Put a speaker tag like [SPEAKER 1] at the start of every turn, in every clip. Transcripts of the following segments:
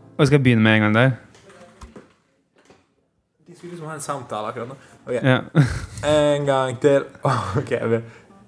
[SPEAKER 1] Og jeg skal begynne med en gang der.
[SPEAKER 2] De skulle liksom ha en samtale akkurat nå. Ok,
[SPEAKER 1] Ja.
[SPEAKER 2] En Oh, gang oh, til. Ok, jeg vil.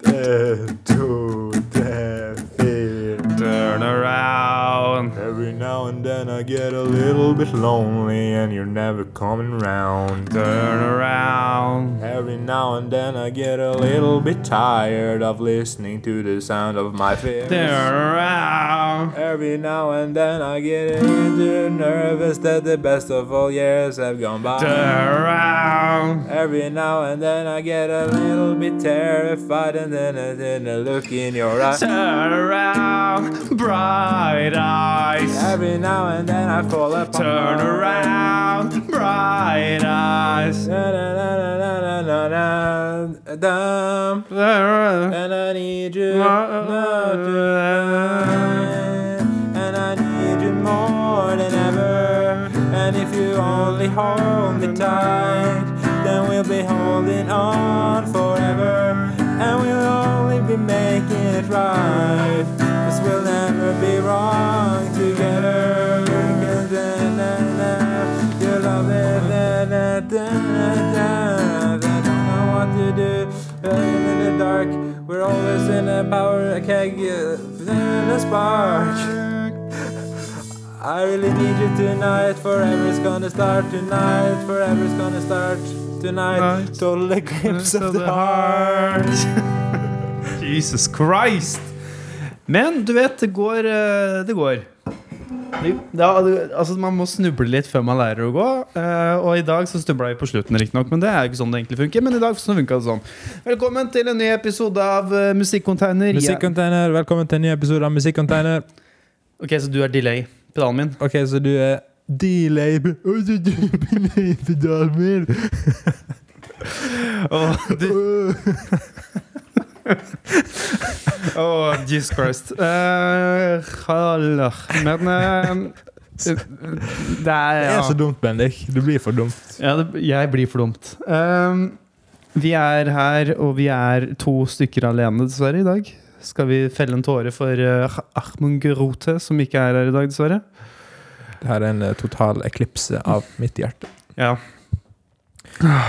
[SPEAKER 2] En, to, tre, fire.
[SPEAKER 1] Turn around.
[SPEAKER 2] Every now and then I get a little bit lonely and you're never coming round.
[SPEAKER 1] Turn around.
[SPEAKER 2] Every now and then I get a little bit tired of listening to the sound of my fears.
[SPEAKER 1] Turn around.
[SPEAKER 2] Every now and then I get a little nervous that the best of all years have gone by.
[SPEAKER 1] Turn around.
[SPEAKER 2] Every now and then I get a little bit terrified and then I then a look in your eyes.
[SPEAKER 1] Turn around. Bright eyes.
[SPEAKER 2] Every now and then I fall apart.
[SPEAKER 1] Turn around. Bright eyes.
[SPEAKER 2] Na, na, na, na, na, na, na, dum.
[SPEAKER 1] Turn around.
[SPEAKER 2] And I need you. not to- And I need you more than ever. And if you only hold me tight, then we'll be holding on forever. And we'll only be making it right. Cause we'll never be wrong together. 'Cause na- na- na, your love is na- na- na- na- na. I don't know what to do. We're in the dark. We're always in a power a keg. uh, In a spark. I really need you tonight. Forever's gonna start tonight. Forever's gonna start tonight.
[SPEAKER 1] Night.
[SPEAKER 2] Total eclipse of the heart.
[SPEAKER 1] Jesus Christ. Men du vet, det går. eh, Det går. Det- Ja, det- altså Man må snuble litt før man lærer å gå. eh, Og i dag så snubla vi på slutten, riktignok. Men det er jo ikke sånn det egentlig funker. Men i dag så funket det sånn. Velkommen til en ny episode av eh, Musikkonteiner. Jeg-
[SPEAKER 2] Musikkonteiner, velkommen til en ny episode av Musikkonteiner.
[SPEAKER 1] Ok, så du er delay. Pedalen min.
[SPEAKER 2] Ok, så du er D-lab. Og så du er B-lab-pedalen min.
[SPEAKER 1] Og du
[SPEAKER 2] Øh.
[SPEAKER 1] Åh, Jesus Christ. Eh, haller. Men eh, Det er
[SPEAKER 2] Det
[SPEAKER 1] ja.
[SPEAKER 2] er så dumt, Bendik. Det blir for dumt.
[SPEAKER 1] Ja, det, jeg blir for dumt. Ehm, vi er her, og vi er to stykker alene, dessverre, i dag. Skal vi felle en tåre for uh, Ahmund Gerote, som ikke er her i dag, dessverre?
[SPEAKER 2] Det her er en eh, total eklipse av mitt hjerte.
[SPEAKER 1] Ja.
[SPEAKER 2] Eh,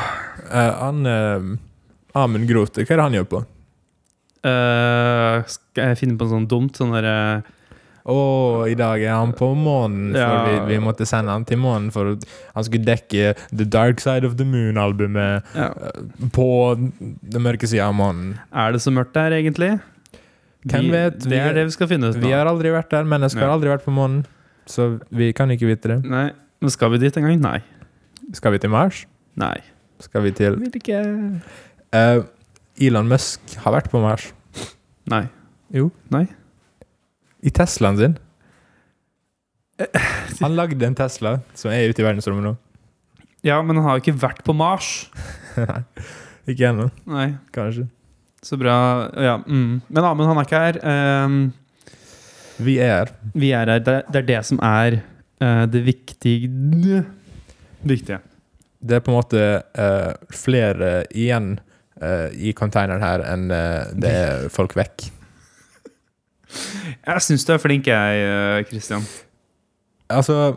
[SPEAKER 2] han eh, Amund Grote, hva er det han gjør på?
[SPEAKER 1] Eh, skal jeg finne på noe sånt dumt? Sånn derre
[SPEAKER 2] Å, i dag er han på månen, for
[SPEAKER 1] Ja.
[SPEAKER 2] vi, vi måtte sende han til månen for å- han skulle dekke The Dark Side of the Moon-albumet eh,
[SPEAKER 1] ja.
[SPEAKER 2] på den mørke sida av månen.
[SPEAKER 1] Er det så mørkt der, egentlig?
[SPEAKER 2] Hvem
[SPEAKER 1] vi,
[SPEAKER 2] vet?
[SPEAKER 1] Det
[SPEAKER 2] Vi-
[SPEAKER 1] er det vi skal finne ut nå.
[SPEAKER 2] Vi har aldri vært der, mennesker har
[SPEAKER 1] Ja.
[SPEAKER 2] aldri vært på månen, så vi kan ikke vite det.
[SPEAKER 1] Nei. Men skal vi dit en gang? Nei.
[SPEAKER 2] Skal vi til Mars?
[SPEAKER 1] Nei.
[SPEAKER 2] Skal vi til
[SPEAKER 1] Vil ikke
[SPEAKER 2] Eh, Elon Musk har vært på Mars.
[SPEAKER 1] Nei.
[SPEAKER 2] Jo.
[SPEAKER 1] Nei.
[SPEAKER 2] I Teslaen sin. Han lagde en Tesla som er ute i verdensrommet nå.
[SPEAKER 1] Ja, men han har jo ikke vært på Mars.
[SPEAKER 2] Ikke ennå,
[SPEAKER 1] Nei.
[SPEAKER 2] kanskje.
[SPEAKER 1] Så bra. Ja. Mm. Men Amund, han er ikke her. Ehm,
[SPEAKER 2] Vi er her.
[SPEAKER 1] vi er her. Det, det er det som er eh, det viktige Viktige.
[SPEAKER 2] Det er på en måte eh, flere igjen eh, i containeren her enn eh, det er folk vekk.
[SPEAKER 1] Jeg syns du er flink, jeg, eh, Christian.
[SPEAKER 2] Altså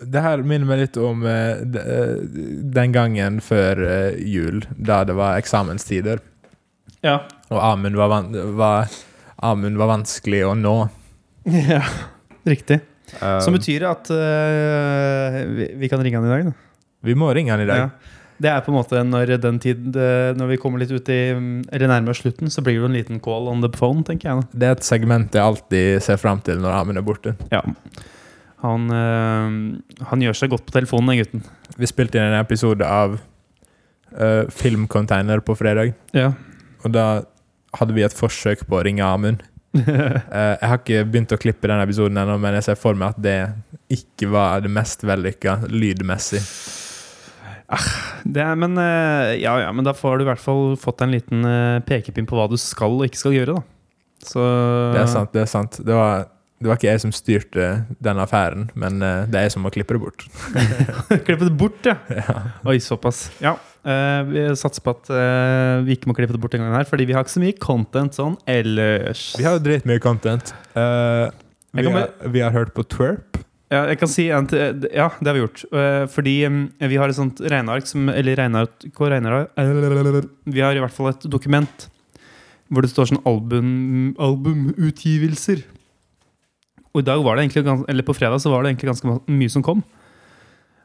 [SPEAKER 2] Det her minner meg litt om eh, d- eh, den gangen før eh, jul, da det var eksamenstider.
[SPEAKER 1] Ja.
[SPEAKER 2] Og Amund var, van var, Amund var vanskelig å nå.
[SPEAKER 1] Riktig.
[SPEAKER 2] Eh,
[SPEAKER 1] Som betyr at eh, vi, vi kan ringe han i dag, da.
[SPEAKER 2] vi må ringe han i dag.
[SPEAKER 1] Ja. Det er på en måte når den tid eh, Når vi kommer litt ut i mm, Eller nærmer oss slutten, så blir det jo en liten call on the phone, tenker jeg. da
[SPEAKER 2] Det er et segment jeg alltid ser fram til når Amund er borte.
[SPEAKER 1] Ja. Han, eh, han gjør seg godt på telefonen, den gutten.
[SPEAKER 2] Vi spilte inn en episode av eh, Filmcontainer på fredag,
[SPEAKER 1] Ja.
[SPEAKER 2] og da hadde vi et forsøk på å ringe Amund. Eh, jeg har ikke begynt å klippe den episoden ennå, men jeg ser for meg at det ikke var det mest vellykka lydmessig.
[SPEAKER 1] Ah, Det er, men, eh, ja, ja, men da får du i hvert fall fått deg en liten eh, pekepinn på hva du skal og ikke skal gjøre, da. Så
[SPEAKER 2] Det er sant, det er sant. Det var, det var ikke jeg som styrte den affæren, men eh, det er jeg som må klippe det bort.
[SPEAKER 1] klippe det bort, ja. Oi, såpass. Ja. eh, vi satser på at eh, vi ikke må klippe det bort den gangen her, fordi vi har ikke så mye content sånn ellers.
[SPEAKER 2] Vi har jo dritmye content. Eh,
[SPEAKER 1] Jeg
[SPEAKER 2] vi,
[SPEAKER 1] kan
[SPEAKER 2] har, vi har hørt på Twerp.
[SPEAKER 1] Ja, jeg kan si en til. Ja, det har vi gjort. Eh, Fordi mm, vi har et sånt regneark som Eller regneark hva regneark? Eh, Vi har i hvert fall et dokument hvor det står sånn album, albumutgivelser. Og i dag var det egentlig gans- Eller på fredag så var det egentlig ganske ma- mye som kom.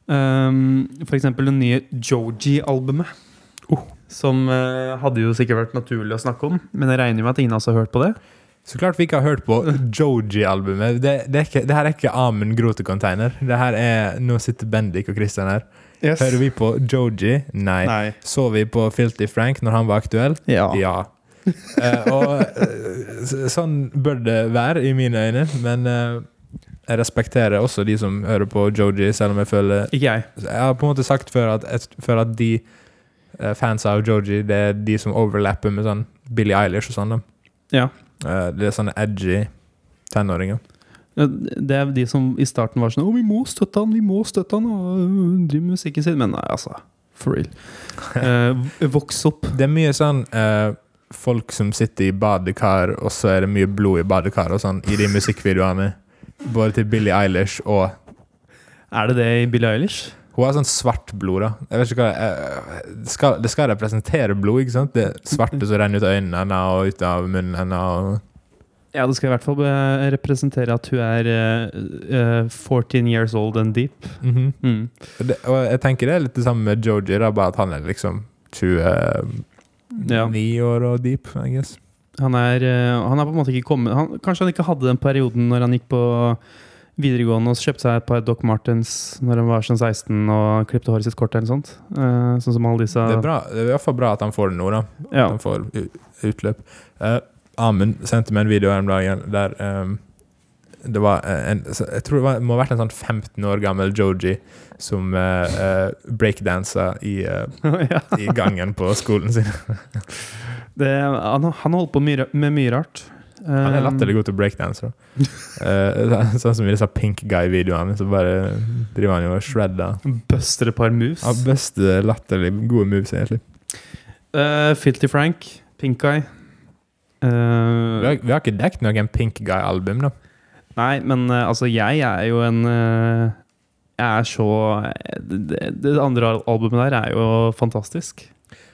[SPEAKER 1] Um, for eksempel det nye Joji-albumet. Som eh, hadde jo sikkert vært naturlig å snakke om, men jeg regner med at ingen av oss har hørt på det.
[SPEAKER 2] Så klart vi ikke har hørt på Joji-albumet. Det, det, er ikke- det her er ikke Amund Grote-container. Det her er Nå sitter Bendik og Christian her. Hører vi på Joji? Nei.
[SPEAKER 1] Nei.
[SPEAKER 2] Så vi på Filty Frank når han var aktuell?
[SPEAKER 1] Ja.
[SPEAKER 2] Ja. Eh, og eh, s- sånn bør det være i mine øyne, men eh, jeg respekterer også de som hører på Joji, selv om jeg føler
[SPEAKER 1] Ikke jeg.
[SPEAKER 2] Jeg har på en måte sagt før at jeg føler at de eh, fans av Joji, det er de som overlapper med sånn Billie Eilish og sånn. da.
[SPEAKER 1] Ja.
[SPEAKER 2] Eh, det er sånne edgy tenåringer.
[SPEAKER 1] Ja, Det er de som i starten var sånn Å, vi må støtte han, vi må støtte han Og øh, drive med musikken sin Men nei, altså, for real Eh, Voks opp
[SPEAKER 2] Det er mye sånn eh, folk som sitter i badekar, og så er det mye blod i badekar og sånn i de musikkvideoene. Både til Billie Eilish og
[SPEAKER 1] Er det det i Billie Eilish?
[SPEAKER 2] Hun har sånn svart blod, da. Jeg vet ikke hva eh, det skal, det skal representere blod, ikke sant? Det svarte som renner ut av øynene henne og ut av munnen henne. Og
[SPEAKER 1] Ja, det skal i hvert fall eh, representere at hun er eh, eh, 14 years old and deep
[SPEAKER 2] Mhm.
[SPEAKER 1] mm.
[SPEAKER 2] Og det, og jeg tenker det er litt det samme med Joji, da, bare at han er liksom 29
[SPEAKER 1] Ja.
[SPEAKER 2] år og deep, I guess.
[SPEAKER 1] han, er, eh, han er på en måte ikke kommet han, Kanskje han ikke hadde den perioden når han gikk på videregående Og kjøpte seg et par Doc Martens Når han var sånn 16 og klippte håret sitt kort eller noe sånt Eh, Sånn som alle disse
[SPEAKER 2] Det er, bra, det er i hvert fall bra at han får det nå, da.
[SPEAKER 1] ja.
[SPEAKER 2] At han får u- utløp. Eh, Amund sendte meg en video her om dagen der ehm, det var eh, en, så Jeg tror det var, må ha vært en sånn 15 år gammel Joji som uh, breakdansa i eh,
[SPEAKER 1] ja.
[SPEAKER 2] i gangen på skolen sin.
[SPEAKER 1] Det, han, han holdt på mye, ra- med mye rart. Eh,
[SPEAKER 2] Han er latterlig god til breakdance. da. Eh, sånn som i disse Pink Guy-videoene, så bare driver han jo og shredder.
[SPEAKER 1] Buster et par moves.
[SPEAKER 2] Han har best eh, latterlig gode moves, egentlig.
[SPEAKER 1] Eh, Filty Frank, Pink Eye. Eh,
[SPEAKER 2] Vi har, vi har ikke dekket noen Pink Guy-album, da.
[SPEAKER 1] nei, men eh, altså, jeg er jo en eh, Jeg er så det, det andre al- albumet der er jo fantastisk.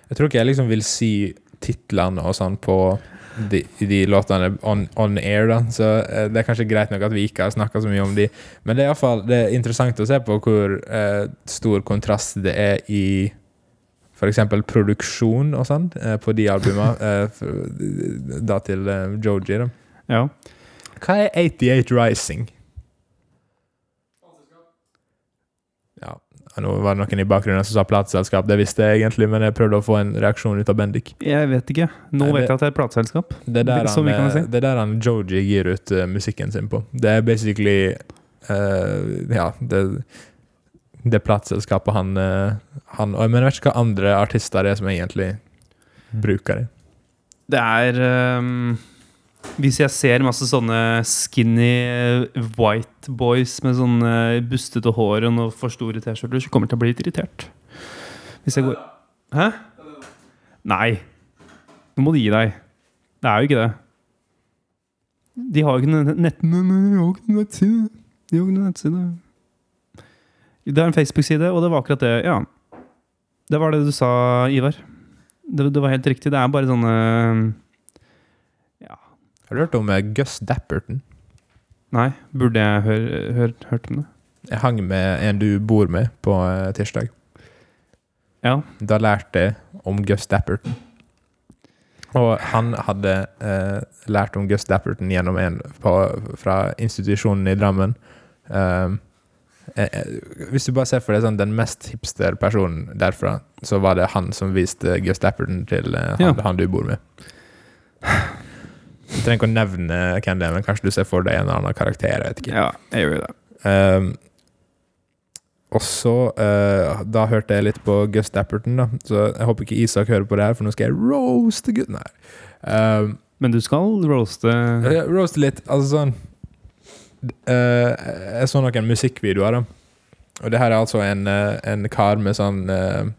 [SPEAKER 2] Jeg tror ikke jeg liksom vil si titlene og sånn på de, de låtene on, on air, da. Så eh, det er kanskje greit nok at vi ikke har snakka så mye om de. Men det er iallfall interessant å se på hvor eh, stor kontrast det er i f.eks. produksjon og sånn eh, på de albuma. eh, for- da til eh, Joji, da.
[SPEAKER 1] Ja.
[SPEAKER 2] Hva er 88 Rising? Ja, nå var det noen i bakgrunnen som sa plateselskap. Det visste jeg egentlig, men jeg prøvde å få en reaksjon ut av Bendik.
[SPEAKER 1] Jeg vet ikke. Nå
[SPEAKER 2] Nei,
[SPEAKER 1] vet
[SPEAKER 2] det-
[SPEAKER 1] jeg at det er et plateselskap.
[SPEAKER 2] Det er der
[SPEAKER 1] Som vi
[SPEAKER 2] han, eh,
[SPEAKER 1] kan si.
[SPEAKER 2] det er der han Joji gir ut eh, musikken sin på. Det er basically eh, Ja, det det plateselskapet han, eh, han og, Men jeg vet ikke hva andre artister det er som egentlig bruker det.
[SPEAKER 1] Det er ehm, Hvis jeg ser masse sånne skinny eh, white boys med sånne bustete hår og noe for store T-skjorter, så kommer jeg til å bli litt irritert. Hvis jeg går Hæ? Nei. Nå må du gi deg. Det er jo ikke det. De har jo ikke noe nett... men De har jo ikke noe nettside. De har jo ikke noe nettside. Det er en Facebook-side, og det var akkurat det. Ja. Det var det du sa, Ivar. Det, det var helt riktig. Det er bare sånne ehm,
[SPEAKER 2] Har du hørt om eh, Gus Dapperton?
[SPEAKER 1] Nei, burde jeg hør, hør, hørt om det?
[SPEAKER 2] Jeg hang med en du bor med på eh, tirsdag.
[SPEAKER 1] Ja.
[SPEAKER 2] Da lærte jeg om Gus Dapperton. Og han hadde eh, lært om Gus Dapperton gjennom en på, fra institusjonen i Drammen. Um, eh, eh, hvis du bare ser for deg sånn, den mest hipster personen derfra, så var det han som viste Gus Dapperton til eh, han,
[SPEAKER 1] Ja.
[SPEAKER 2] han du bor med. Jeg trenger ikke å nevne hvem det er, men kanskje du ser for deg en eller annen karakter. Jeg vet ikke.
[SPEAKER 1] ja, jeg gjør det.
[SPEAKER 2] Um, og så eh, Da hørte jeg litt på Gus Dapperton, da. Så jeg håper ikke Isak hører på det her, for nå skal jeg roaste gutten her. Um,
[SPEAKER 1] Men du skal roaste
[SPEAKER 2] ja, roaste litt. Altså sånn eh, Jeg så noen musikkvideoer, da. Og det her er altså en, eh, en kar med sånn eh,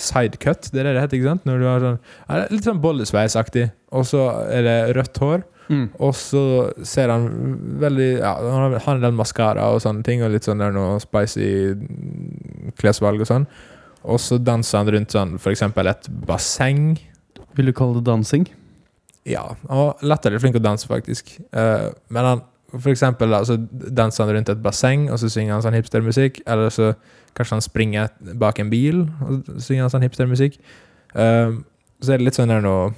[SPEAKER 2] sidecut, det er det det heter, ikke sant? Når du har sånn, ja, det er litt sånn bollesveisaktig, og så er det rødt hår,
[SPEAKER 1] Mm.
[SPEAKER 2] Og så ser han veldig ja, Han har en del maskara og sånne ting, og litt sånn der noe spicy klesvalg og sånn. Og så danser han rundt sånn, for eksempel et basseng.
[SPEAKER 1] Vil du kalle det dansing?
[SPEAKER 2] Ja, han var latterlig flink å danse, faktisk. Eh, men han for eksempel, da, så danser han rundt et basseng, og så synger han sånn hipstermusikk. Eller så kanskje han springer bak en bil, og så synger han sånn hipstermusikk. Eh, så er det litt sånn der noe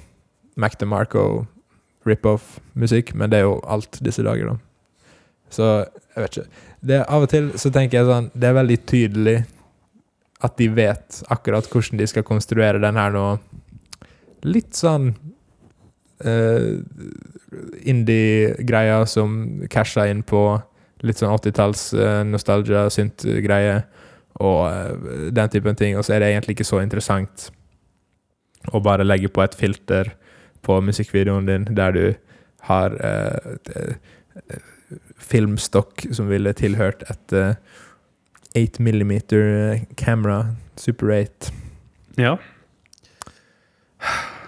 [SPEAKER 2] Mac DeMarco rip-off-musikk, men det er jo alt disse dager, da. Så jeg vet ikke. Det, er- av og til så tenker jeg sånn Det er veldig tydelig at de vet akkurat hvordan de skal konstruere den her nå. Litt sånn eh, indie-greia som casha inn på litt sånn 80-talls eh, nostalgia, synt-greie og eh, den typen ting, og så er det egentlig ikke så interessant å bare legge på et filter på musikkvideoen din der du har eh, et, eh, filmstokk som ville tilhørt et eh, 8 mm camera, Super 8.
[SPEAKER 1] Ja.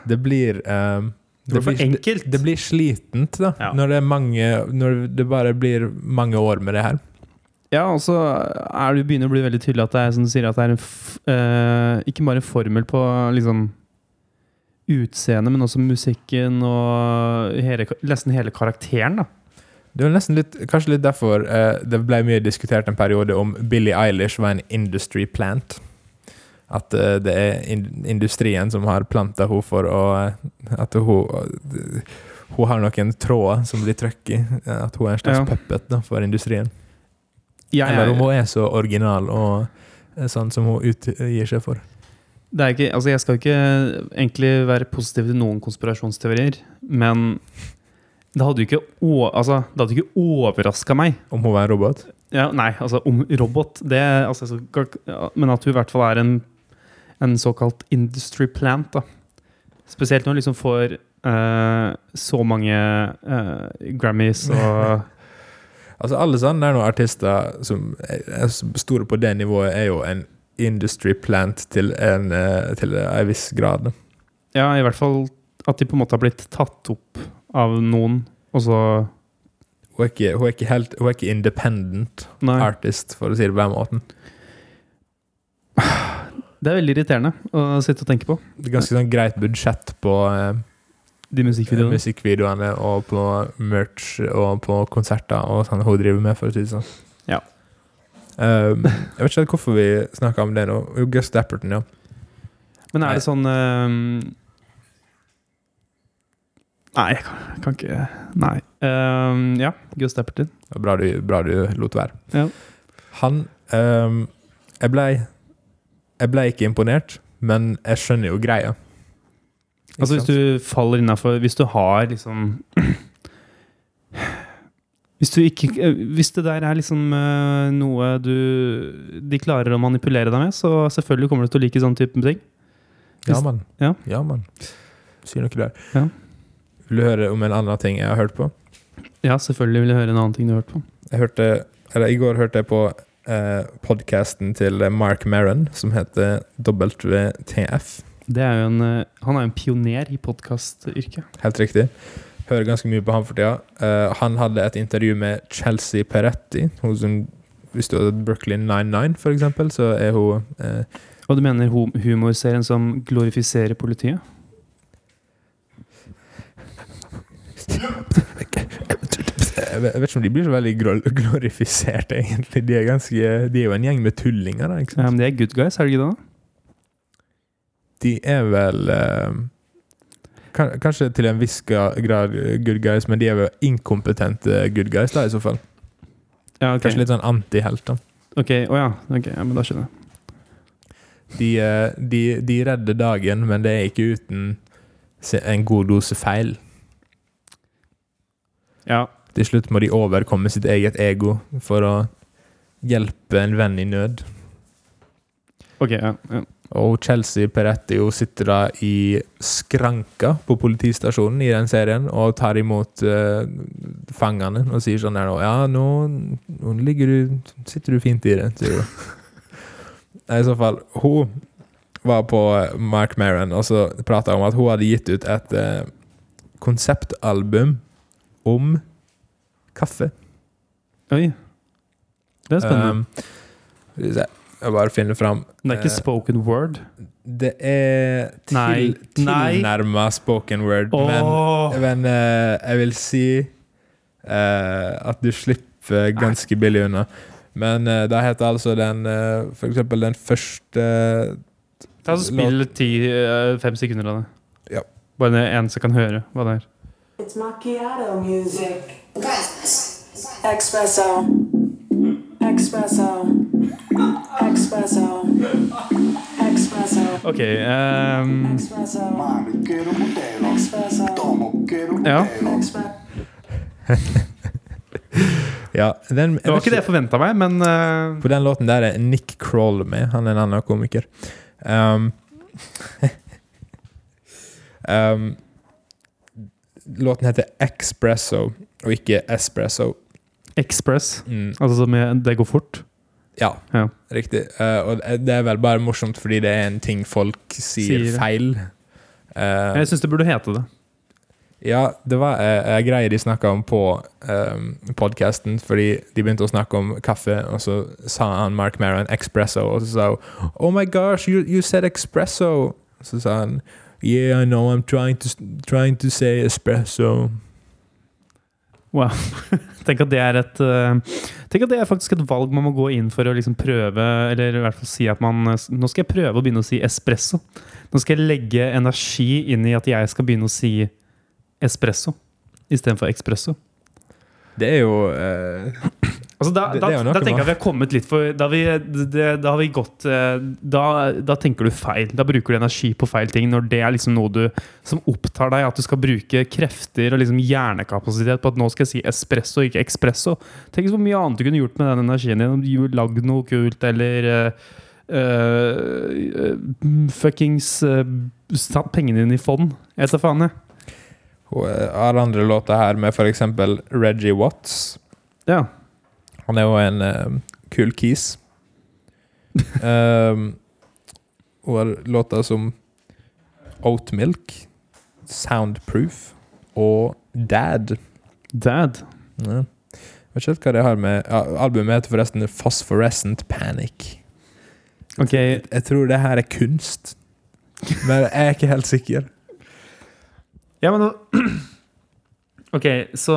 [SPEAKER 2] Det blir eh,
[SPEAKER 1] Det var for
[SPEAKER 2] blir-
[SPEAKER 1] enkelt.
[SPEAKER 2] Det blir slitent da
[SPEAKER 1] Ja.
[SPEAKER 2] når det er mange Når det bare blir mange år med det her.
[SPEAKER 1] Ja, og så er det begynner det å bli veldig tydelig at det er, som du sier, at det er en f eh, ikke bare en formel på liksom utseendet, men også musikken og hele, nesten hele karakteren. da.
[SPEAKER 2] Det var nesten litt, Kanskje litt derfor eh, det ble mye diskutert en periode om Billie Eilish var en industry plant. At eh, det er in industrien som har planta henne for å eh, At hun eh, Hun har noen tråder som blir trøkk i. eh, At hun er en slags
[SPEAKER 1] Ja.
[SPEAKER 2] puppet da, for industrien.
[SPEAKER 1] Jeg
[SPEAKER 2] Eller om
[SPEAKER 1] er,
[SPEAKER 2] hun er så original og eh, sånn som hun utgir seg for.
[SPEAKER 1] det er ikke, altså jeg skal ikke egentlig være positiv til noen konspirasjonsteorier, men det hadde jo ikke, å- altså, det hadde ikke overraska meg
[SPEAKER 2] Om hun var en robot.
[SPEAKER 1] Ja, nei, altså om robot det, altså, så, ja, Men at hun i hvert fall er en, en såkalt industry plant. Da. Spesielt når hun liksom får eh, så mange eh, Grammys og
[SPEAKER 2] Altså Alle sånne der noen artister som er er store på det nivået, er jo en industry plant til en, eh, til en viss grad. da.
[SPEAKER 1] Ja, i hvert fall at de på en måte har blitt tatt opp av noen, og så
[SPEAKER 2] Hun er ikke, hun er ikke, helt, hun er ikke independent
[SPEAKER 1] Nei.
[SPEAKER 2] artist, for å si det på den måten.
[SPEAKER 1] Det er veldig irriterende å sitte og tenke på.
[SPEAKER 2] Det er ganske sånn greit budsjett på eh,
[SPEAKER 1] De musikkvideoene.
[SPEAKER 2] musikkvideoene og på merch og på konserter og sånn hun driver med, for å si det sånn.
[SPEAKER 1] Ja.
[SPEAKER 2] Um, jeg vet ikke helt hvorfor vi snakker om det nå. Jo, Gus Dapperton, ja.
[SPEAKER 1] Men er det sånn eh, Nei, jeg kan, jeg kan ikke Nei. Eh, ja, Gus Dapperton.
[SPEAKER 2] Det var Bra du, bra du lot være.
[SPEAKER 1] Ja.
[SPEAKER 2] Han ehm, Jeg blei Jeg blei ikke imponert, men jeg skjønner jo greia. Ikke
[SPEAKER 1] Altså hvis
[SPEAKER 2] sant?
[SPEAKER 1] du faller innafor Hvis du har liksom Hvis du ikke eh, Hvis det der er liksom eh, noe du De klarer å manipulere deg med, så selvfølgelig kommer du til å like sånn type ting.
[SPEAKER 2] Ja, mann.
[SPEAKER 1] Ja.
[SPEAKER 2] mann. Sier noe der.
[SPEAKER 1] Ja.
[SPEAKER 2] Vil du høre om en annen ting jeg har hørt på?
[SPEAKER 1] Ja, selvfølgelig vil jeg høre en annen ting du har hørt på.
[SPEAKER 2] Jeg hørte Eller i går hørte jeg på eh, podkasten til Mark Maron som heter WTF.
[SPEAKER 1] Det er jo en, eh, han er jo en pioner i podkastyrket.
[SPEAKER 2] Helt riktig. Hører ganske mye på han for tida. Eh, han hadde et intervju med Chelsea Peretti. Hun som, hvis du hadde Brooklyn 99, for eksempel, så er hun eh,
[SPEAKER 1] Og du mener hum humorserien som glorifiserer politiet?
[SPEAKER 2] Jeg vet jeg vet ikke om de blir så veldig glor- glorifisert, egentlig. De er, ganske, de er jo en gjeng med tullinger, da. Ikke
[SPEAKER 1] Ja, men
[SPEAKER 2] sant?
[SPEAKER 1] Um, det er good guys, er det ikke det? da?
[SPEAKER 2] De er vel eh, kan- Kanskje til en viss ga- grad good guys, men de er vel inkompetente good guys, da, i så fall.
[SPEAKER 1] Ja, ok.
[SPEAKER 2] Kanskje litt sånn antihelt, da.
[SPEAKER 1] Ok, Å ja. ok, ja, men da skjønner jeg.
[SPEAKER 2] De, eh, de, de redder dagen, men det er ikke uten se- en god dose feil.
[SPEAKER 1] Ja,
[SPEAKER 2] Til slutt må de overkomme sitt eget ego for å hjelpe en venn i nød.
[SPEAKER 1] ok, ja, ja.
[SPEAKER 2] Og Chelsea Peretti hun sitter da i skranka på politistasjonen i den serien og tar imot eh, fangene og sier sånn der nå Ja, nå, nå ligger du Sitter du fint i det, sier hun. Nei, I så fall Hun var på Mark Maron og så prata om at hun hadde gitt ut et eh, konseptalbum om kaffe.
[SPEAKER 1] Oi. Det er spennende.
[SPEAKER 2] Um, skal vi se. jeg bare finner fram
[SPEAKER 1] Men det er ikke
[SPEAKER 2] eh,
[SPEAKER 1] spoken word.
[SPEAKER 2] Det er
[SPEAKER 1] Nei.
[SPEAKER 2] til,
[SPEAKER 1] Nei.
[SPEAKER 2] tilnærma spoken word,
[SPEAKER 1] Åh.
[SPEAKER 2] men, men eh, jeg vil si eh, at du slipper ganske billig unna. Men uh, da heter altså den eh, For eksempel den første
[SPEAKER 1] Ta og Spill ti, eh, fem sekunder av det.
[SPEAKER 2] Ja.
[SPEAKER 1] Bare det eneste kan høre hva det er.
[SPEAKER 3] It's macchiato music. Espresso. Espresso. Espresso. Espresso.
[SPEAKER 1] OK ehm,
[SPEAKER 3] Espresso.
[SPEAKER 4] Mami, quiero un modelo.
[SPEAKER 3] Espresso.
[SPEAKER 4] Tomo, quiero un
[SPEAKER 1] Ja.
[SPEAKER 4] modelo.
[SPEAKER 3] Espresso.
[SPEAKER 2] Ja, den,
[SPEAKER 1] Det var ikke det jeg forventa meg, men eh,
[SPEAKER 2] På den låten der er Nick Kroll med. Han er en annen komiker. Um, um, låten heter Expresso, og ikke Espresso.
[SPEAKER 1] Express.
[SPEAKER 2] Mm,
[SPEAKER 1] Altså som i det går fort.
[SPEAKER 2] ja,
[SPEAKER 1] Ja.
[SPEAKER 2] riktig. Eh, og det er vel bare morsomt fordi det er en ting folk sier,
[SPEAKER 1] Sier.
[SPEAKER 2] feil. Eh,
[SPEAKER 1] Jeg syns det burde hete det.
[SPEAKER 2] Ja, det var ei greie de snakka om på podkasten, fordi de begynte å snakke om kaffe, og så sa han Mark Maron 'espresso', og så sa hun 'Oh my gosh, you, you said espresso'. Så sa han 'Yeah, I know, I'm trying to, trying to say espresso'.
[SPEAKER 1] Tenk at det er et eh, Tenk at det er faktisk et valg man må gå inn for å liksom prøve Eller i hvert fall si at man eh, Nå skal jeg prøve å begynne å si espresso. Nå skal jeg legge energi inn i at jeg skal begynne å si espresso istedenfor expresso.
[SPEAKER 2] Det er jo eh,
[SPEAKER 1] Altså da,
[SPEAKER 2] Det-
[SPEAKER 1] da,
[SPEAKER 2] det er jo noe
[SPEAKER 1] da tenker jeg
[SPEAKER 2] med-
[SPEAKER 1] at vi har kommet litt for Da, har vi, det, da har vi gått eh, da, da tenker du feil. Da bruker du energi på feil ting når det er liksom noe du som opptar deg. At du skal bruke krefter og liksom hjernekapasitet på at nå skal jeg si espresso, ikke expresso. Tenk så mye annet du kunne gjort med den energien din. Om du gjorde- Lagd noe kult eller eh, eh, eh, fuckings eh, Satt pengene dine i fond. Jeg tar faen, jeg.
[SPEAKER 2] Hun eh, har andre låter her med f.eks. Reggie Watts.
[SPEAKER 1] Ja.
[SPEAKER 2] Han er jo en eh, kul kis. Um, og har låter som Oat Milk, Soundproof og Dad.
[SPEAKER 1] Dad.
[SPEAKER 2] Ja. Jeg vet ikke helt hva det har med ja, Albumet heter forresten Phosphorescent Panic.
[SPEAKER 1] Ok,
[SPEAKER 2] Jeg, jeg tror det her er kunst, men jeg er ikke helt sikker.
[SPEAKER 1] ja, men nå Ok, så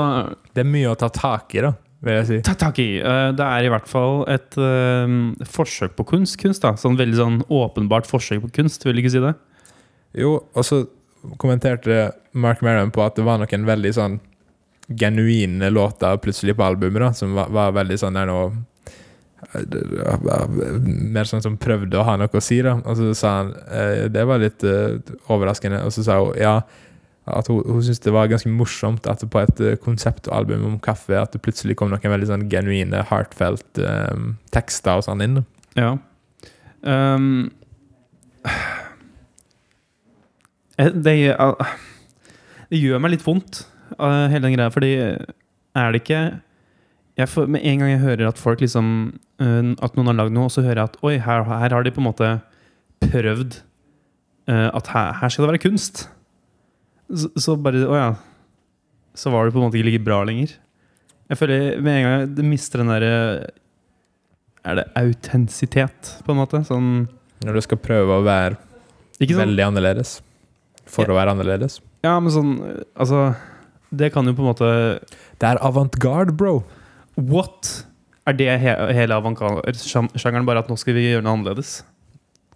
[SPEAKER 2] Det er mye å ta tak i, da, vil jeg si.
[SPEAKER 1] Ta tak i. Eh, Det er i hvert fall et eh, forsøk på kunst. kunst da. Sånn veldig sånn åpenbart forsøk på kunst, vil du ikke si det?
[SPEAKER 2] Jo, og så kommenterte Mark Maron på at det var noen veldig sånn genuine låter plutselig på albumet, da, som var, var veldig sånn der nå eh, Mer sånn som prøvde å ha noe å si, da. Og så sa han eh, Det var litt eh, overraskende. Og så sa hun ja, at hun, hun syntes det var ganske morsomt at på et eh, konseptalbum om kaffe at det plutselig kom noen veldig sånn genuine, heartfelt eh, tekster og sånn inn.
[SPEAKER 1] Ja. Ehm, eh, det, gjør- ah, det gjør meg litt vondt, eh, hele den greia, fordi er det ikke jeg får, Med en gang jeg hører at folk liksom eh, At noen har lagd noe, og så hører jeg at Oi, her, her har de på en måte prøvd eh, at her, her skal det være kunst. Så, så bare Å ja. Så var det på en måte ikke like bra lenger. Jeg føler med en gang det mister den eh, derre er det autentisitet, på en måte? Sånn,
[SPEAKER 2] Når du skal prøve å være
[SPEAKER 1] ikke sånn
[SPEAKER 2] Veldig annerledes. For å være annerledes.
[SPEAKER 1] Ja, men sånn eh, Altså, det kan jo på en måte
[SPEAKER 2] Det er avantgarde, bro!
[SPEAKER 1] What? Er det he hele avantgarde-sjangeren, bare at nå skal vi gjøre noe annerledes?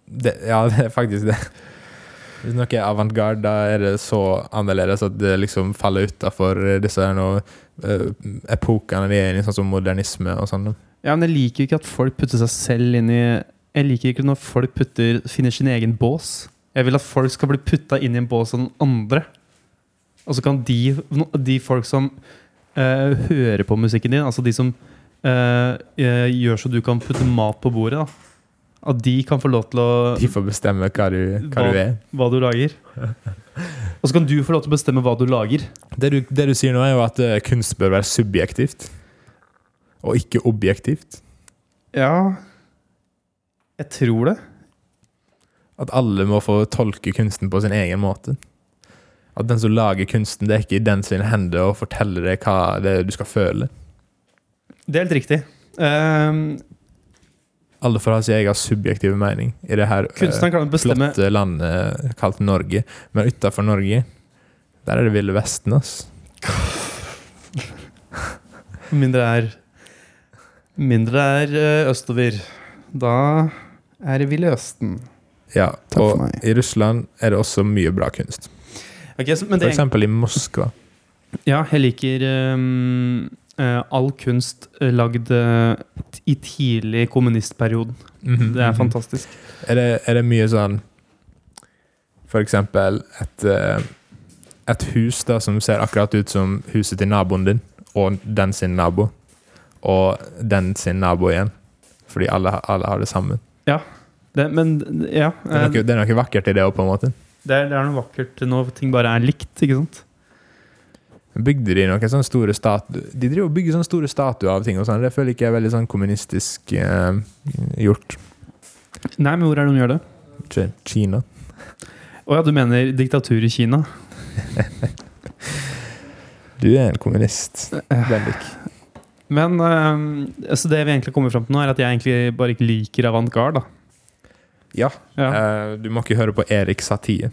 [SPEAKER 2] Det, ja, det er faktisk det. Hvis noe er avantgarde, da er det så annerledes at det liksom faller utafor disse her nå eh, epokene de er inne i, sånn som modernisme og sånn.
[SPEAKER 1] Ja, men jeg liker jo ikke at folk putter seg selv inn i Jeg liker ikke når folk putter, finner sin egen bås. Jeg vil at folk skal bli putta inn i en bås av noen andre. Og så kan de, de folk som eh, hører på musikken din, altså de som eh, eh, gjør så du kan putte mat på bordet, da. at de kan få lov til å
[SPEAKER 2] De får bestemme hva du, hva du er.
[SPEAKER 1] hva du lager. Og så kan du få lov til å bestemme hva du lager.
[SPEAKER 2] Det du, det du sier nå, er jo at eh, kunst bør være subjektivt. Og ikke objektivt.
[SPEAKER 1] Ja Jeg tror det.
[SPEAKER 2] At alle må få tolke kunsten på sin egen måte. At den som lager kunsten, det er ikke i den sine hender å fortelle deg hva det er du skal føle.
[SPEAKER 1] Det er helt riktig. Ehm,
[SPEAKER 2] Alle får ha sin egen subjektive mening i det her eh,
[SPEAKER 1] kunstneren kan bestemme
[SPEAKER 2] flotte landet eh, kalt Norge. Men utafor Norge, der er det Ville Vesten, ass.
[SPEAKER 1] Med mindre det er Mindre det er eh, østover. Da er det Ville Østen.
[SPEAKER 2] Ja,
[SPEAKER 1] Takk for
[SPEAKER 2] og
[SPEAKER 1] meg.
[SPEAKER 2] i Russland er det også mye bra kunst.
[SPEAKER 1] Ok, så, men
[SPEAKER 2] For
[SPEAKER 1] det,
[SPEAKER 2] eksempel i Moskva.
[SPEAKER 1] ja, jeg liker ehm, eh, all kunst eh, lagd eh, t- i tidlig kommunistperioden.
[SPEAKER 2] Mhm,
[SPEAKER 1] Det er
[SPEAKER 2] mhm.
[SPEAKER 1] fantastisk.
[SPEAKER 2] Er det, er det mye sånn For eksempel et, eh, et hus da som ser akkurat ut som huset til naboen din, og den sin nabo, og den sin nabo igjen. Fordi alle, ha- alle har det sammen.
[SPEAKER 1] Det, men ja
[SPEAKER 2] Det er
[SPEAKER 1] eh,
[SPEAKER 2] noe, det er noe vakkert i det òg, på en måte.
[SPEAKER 1] Det er, det er noe vakkert når ting bare er likt, ikke sant?
[SPEAKER 2] Bygde de noen sånne store statuer De driver og bygger sånne store statuer av ting og sånn. Det føler jeg ikke er veldig sånn kommunistisk eh, gjort.
[SPEAKER 1] Nei, men hvor er det de gjør det?
[SPEAKER 2] Ki- Kina.
[SPEAKER 1] Å ja, du mener diktatur i Kina?
[SPEAKER 2] Du er en kommunist, Bendik.
[SPEAKER 1] Men eh, altså det vi egentlig kommer fram til nå, er at jeg egentlig bare ikke liker avantgarde. da.
[SPEAKER 2] Ja.
[SPEAKER 1] Ja.
[SPEAKER 2] Eh, du må ikke høre på Erik Satie.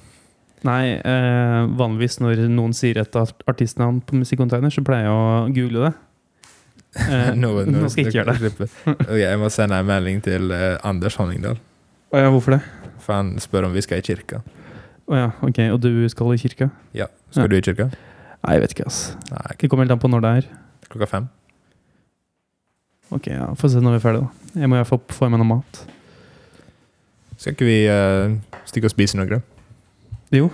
[SPEAKER 1] Nei, eh, vanligvis når noen sier et art- artistnavn på Musikkonteiner, så pleier jeg å google det. Eh, nå, skal jeg ikke gjøre det.
[SPEAKER 2] Ok, jeg må sende en melding til eh, Anders Honningdal,
[SPEAKER 1] Å ja, hvorfor det?
[SPEAKER 2] for han spør om vi skal i kirka.
[SPEAKER 1] Å ja, ok, Og du skal i kirka?
[SPEAKER 2] Ja. Skal
[SPEAKER 1] Ja.
[SPEAKER 2] du i kirka?
[SPEAKER 1] Nei, jeg vet ikke, ass.
[SPEAKER 2] Nei, ok.
[SPEAKER 1] Det kommer helt an på når det er.
[SPEAKER 2] klokka fem.
[SPEAKER 1] Ok, ja, Får se når vi er ferdige, da. Jeg må i hvert fall få i meg noe mat.
[SPEAKER 2] Skal ikke vi eh, stikke og spise noe?
[SPEAKER 1] Jo.